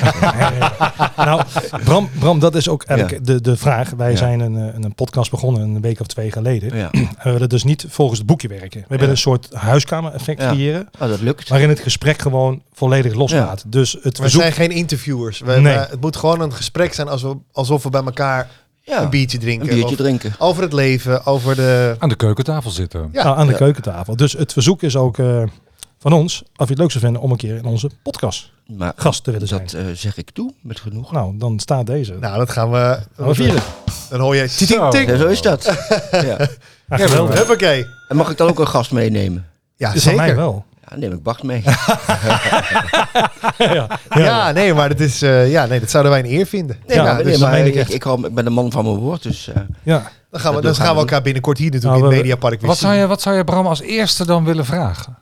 Nou, Bram, Bram, dat is ook eigenlijk de, de vraag. Wij Ja. zijn een, eh, een podcast begonnen een week of twee geleden. ja. En we willen dus niet volgens het boekje werken. We willen een soort huiskamer effect Ja. creëren. Nou, dat lukt. Waarin het gesprek gewoon volledig loslaat. Dus het We verzoek... zijn geen interviewers. We, Nee. we- het moet gewoon een gesprek zijn alsof, alsof we bij elkaar Ja, een biertje drinken. een biertje Of- drinken. over het leven, over de... Aan de keukentafel zitten. Ja. Nou, aan de Ja. keukentafel. Dus het verzoek is ook eh, van ons, of je het leuk zou vinden om een keer in onze podcast Maar gast te willen zijn. dat eh, zeg ik toe, met genoegen. Nou, dan staat deze. Nou, Nou, dat gaan we... we vieren. Dan hoor je... Zo. Ting, ting. Ja, zo is dat. ja. Ja, Ja, geweldig. Huppakee. En mag ik dan ook een gast meenemen? Ja, Dus van zeker. mij wel. Ja, neem ik Bart mee. ja, ja. Ja, nee, maar dat, is, eh, ja, nee, dat zouden wij een eer vinden. Nee, Ja, maar, dus nee, dat maar meen ik ik, ik, echt. hou- ik ben een man van mijn woord, dus eh, Ja. Dan gaan we, Dat dan doen- gaan gaan we we elkaar binnenkort hier natuurlijk Nou, in we- het Mediapark weer Wat zien. zou, je, wat zou je Bram als eerste dan willen vragen?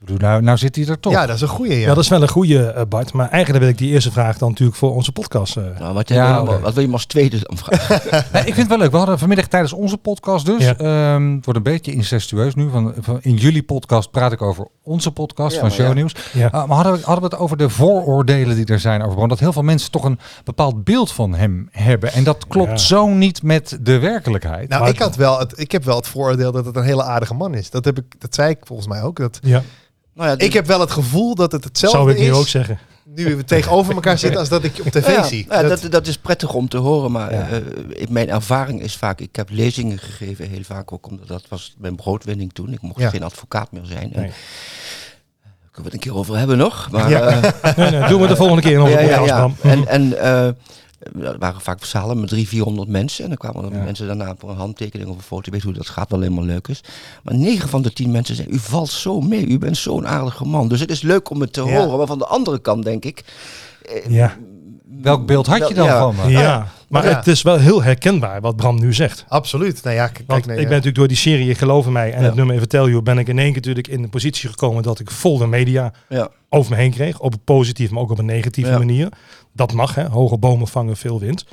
Ik bedoel, nou, nou zit hij er toch. Ja, dat is een goeie, ja. ja, dat is wel een goede Bart. Maar eigenlijk wil ik die eerste vraag dan natuurlijk voor onze podcast. eh. nou, wat, Ja, wil je, oké. wat wil je me als tweede dan vragen? Nee, ik vind het wel leuk. We hadden vanmiddag tijdens onze podcast dus. Ja. ehm, het wordt een beetje incestueus nu. Van, van, in jullie podcast praat ik over onze podcast Ja, van maar ja. Shownieuws. ja. Ah, maar hadden we, hadden we het over de vooroordelen die er zijn over Bram? Dat heel veel mensen toch een bepaald beeld van hem hebben. En dat klopt Ja. zo niet met de werkelijkheid. nou, Maar- ik, had wel het, ik heb wel het vooroordeel dat het een hele aardige man is. Dat, heb ik, dat zei ik volgens mij ook. Dat, ja. nou, ja, ik heb wel het gevoel dat het hetzelfde zou ik is nu ook zeggen. nu we tegenover elkaar zitten als dat ik je op tv ja, zie. ja, dat, dat, dat is prettig om te horen, maar Ja. eh, eh, mijn ervaring is vaak... Ik heb lezingen gegeven, heel vaak ook, omdat dat was mijn broodwinning toen. Ik mocht Ja. geen advocaat meer zijn. En, Nee. Daar kunnen we het een keer over hebben nog, maar... Ja. eh, Nee, nee, doen we de volgende keer in onze ja, ja, podcast, ja. Bram. En, en eh, er waren vaak zalen met 300, 400 mensen. En dan kwamen er Ja. mensen daarna voor een handtekening of een foto. Je weet hoe dat gaat, wel helemaal leuk is. Maar 9 van de 10 mensen zeiden, u valt zo mee. U bent zo'n aardige man. Dus het is leuk om het te Ja. horen. Maar van de andere kant denk ik... eh, Ja, welk beeld had je dan Ja. van me? ja. maar Ja. het is wel heel herkenbaar wat Bram nu zegt. absoluut. Nou ja, k- kijk, Want nee, ik ja. ben natuurlijk door die serie Geloof in mij en Ja. het nummer Even Tell You ben ik in één keer natuurlijk in de positie gekomen dat ik vol de media ja. over me heen kreeg. Op een positieve, maar ook op een negatieve Ja. manier. Dat mag, hè. Hoge bomen vangen veel wind.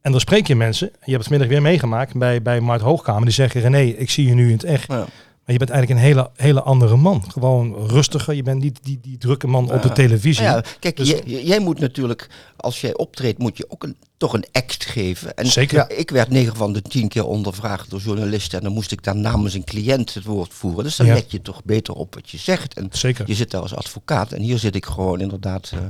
En dan spreek je mensen. Je hebt het vanmiddag weer meegemaakt bij, bij Mart Hoogkamer. Die zeggen, René, ik zie je nu in het echt. Ja. Maar je bent eigenlijk een hele, hele andere man. Gewoon rustiger. Je bent niet die, die drukke man op de Ja. televisie. Nou ja, kijk, Dus- jij, jij moet natuurlijk, als jij optreedt, moet je ook een, toch een act geven. En Zeker. Ja. Ik werd negen van de tien keer ondervraagd door journalisten en dan moest ik daar namens een cliënt het woord voeren. Dus dan Ja. let je toch beter op wat je zegt. En Zeker. je zit daar als advocaat en hier zit ik gewoon inderdaad eh, eh,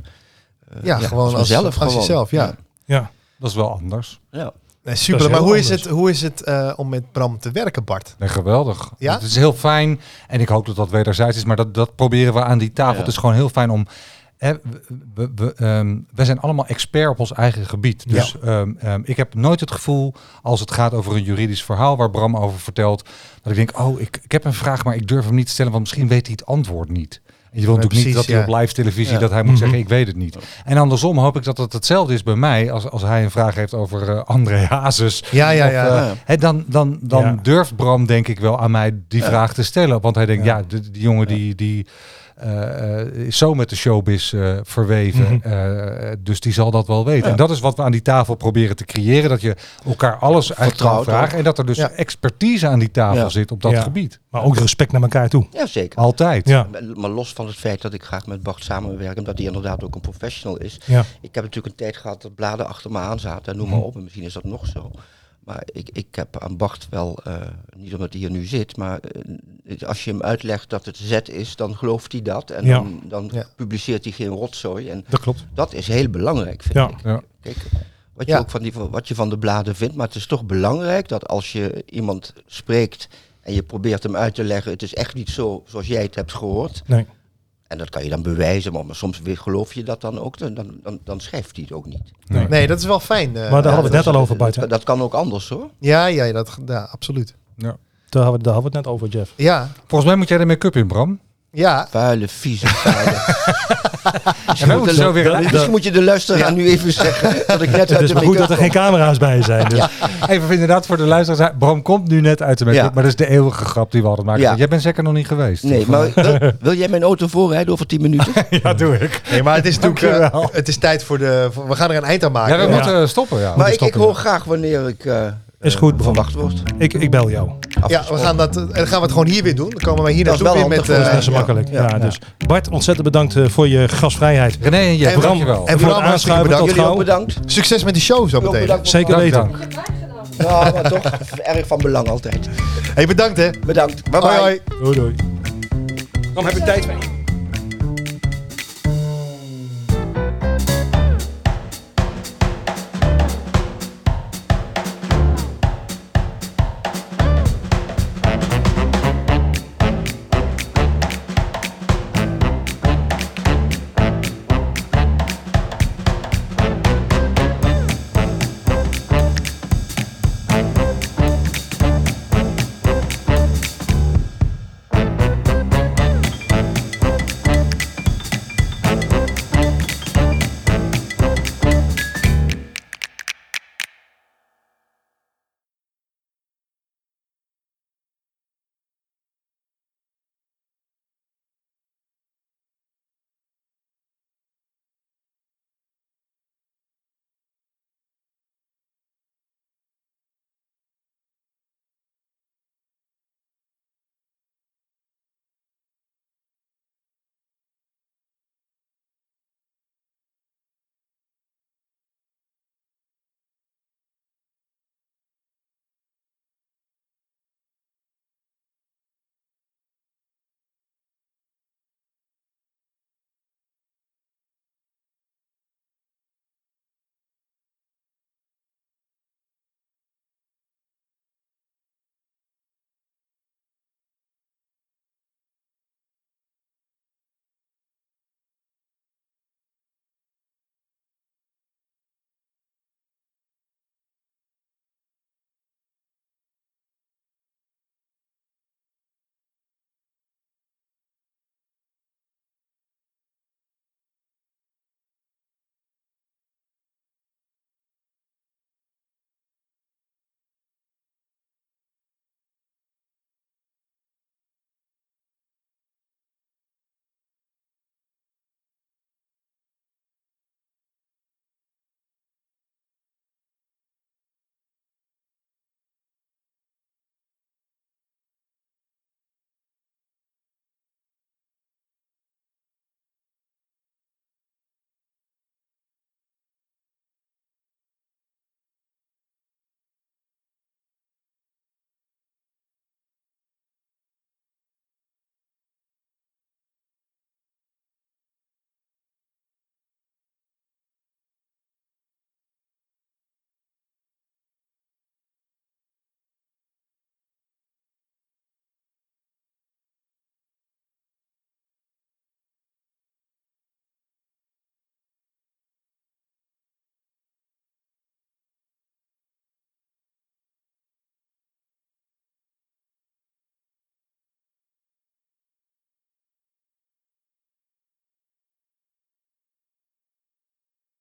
Ja, gewoon als, mezelf, als jezelf, ja. Ja. Dat is wel anders. Ja. Nee, Dat super. is Maar heel hoe is, anders. het, hoe is het eh, om met Bram te werken, Bart? Nee, geweldig. Ja? Het is heel fijn. En ik hoop dat dat wederzijds is. Maar dat, dat proberen we aan die tafel. Ja. Het is gewoon heel fijn om... Hè, we, we, we, ehm, wij zijn allemaal expert op ons eigen gebied. Dus ehm, ehm, ik heb nooit het gevoel, als het gaat over een juridisch verhaal waar Bram over vertelt, dat ik denk, oh, ik, ik heb een vraag, maar ik durf hem niet te stellen, want misschien weet hij het antwoord niet. En je wil Ja, natuurlijk niet dat precies, hij ja. op live televisie Ja. dat hij moet Mhm. zeggen, ik weet het niet. En andersom hoop ik dat het hetzelfde is bij mij, als, als hij een vraag heeft over eh, André Hazes Ja, ja, Of, ja. eh, hè, dan dan, dan Ja. durft Bram denk ik wel aan mij die Ja. vraag te stellen. Want hij denkt, Ja. ja, die, die jongen die, die eh, eh, is zo met de showbiz eh, verweven. Mhm. eh, dus die zal dat wel weten. Ja. En dat is wat we aan die tafel proberen te creëren. Dat je elkaar alles uit kan Vertrouwt vragen. En dat er dus Ja. expertise aan die tafel Ja. zit op dat Ja. gebied. Maar ook respect naar elkaar toe. ja, zeker. Altijd. Ja. Maar los van het feit dat ik graag met Bart samenwerk, omdat hij inderdaad ook een professional is. Ja. Mhm. Ik heb natuurlijk een tijd gehad dat bladen achter me aan zaten, en noem maar op, en misschien is dat nog zo. Maar ik, ik heb aan Bart wel, eh, niet omdat hij hier nu zit, maar eh, als je hem uitlegt dat het zet is, dan gelooft hij dat. En Ja. dan, dan Ja. publiceert hij geen rotzooi. En Dat klopt. dat is heel belangrijk, vind Ja. ik. Ja. Kijk, wat, Ja. je ook van die, wat je van de bladen vindt, maar het is toch belangrijk dat als je iemand spreekt en je probeert hem uit te leggen, het is echt niet zo zoals jij het hebt gehoord. Nee. En dat kan je dan bewijzen, maar, maar soms weer geloof je dat dan ook, dan, dan, dan, dan schrijft hij het ook niet. Nee. Nee, dat is wel fijn. eh. Maar daar Ja, hadden we het dat- net al over, Bart. hè? Dat, dat kan ook anders hoor. Ja, ja, dat, ja, absoluut. Daar hadden we daar hadden we het net over, Jeff. Ja, Volgens mij moet jij de make-up in, Bram. ja. Vuile, vieze, vuile. En wij moeten zo weer... Misschien moet je de luisteraar nu even zeggen dat ik net Het uit is de maar goed make-up dat er geen camera's bij zijn. Dus. Even inderdaad voor de luisteraars. Bram komt nu net uit de make-up. Ja. Maar dat is de eeuwige grap die we altijd maken. Ja. Jij bent zeker nog niet geweest. kom. Nee, maar wil, wil jij mijn auto voorrijden over 10 Oh, minuten? Ja, doe ik. Nee, maar het is natuurlijk... eh, Dankjewel. het is tijd voor de... voor- we gaan er een eind aan maken. Ja, we Ja. moeten stoppen. Ja. maar We ik, ik stoppen, hoor graag wanneer ik eh, Is eh, goed, Bram. verwacht word. Ik, ik bel jou. Ja, we Afgesproken. gaan dat, en dan gaan we het gewoon hier weer doen. Dan komen we hier Dat is naartoe weer wel met... handig Dat is eh, net zo ja. makkelijk. Ja, Ja. dus. Bart, ontzettend bedankt eh, voor je gastvrijheid. ja. René en Jeff, En Bram- dankjewel. En voor het Bram, hartstikke aanschuiven bedankt. tot Jullie ook gauw. bedankt. succes met de show zo Ook meteen. bedankt. Zeker Dank, weten. dank. Nou, maar toch erg van belang altijd. hey, bedankt hè. Bedankt. Bye bye. Hoi hoi. Doei doei. Dan heb je tijd mee.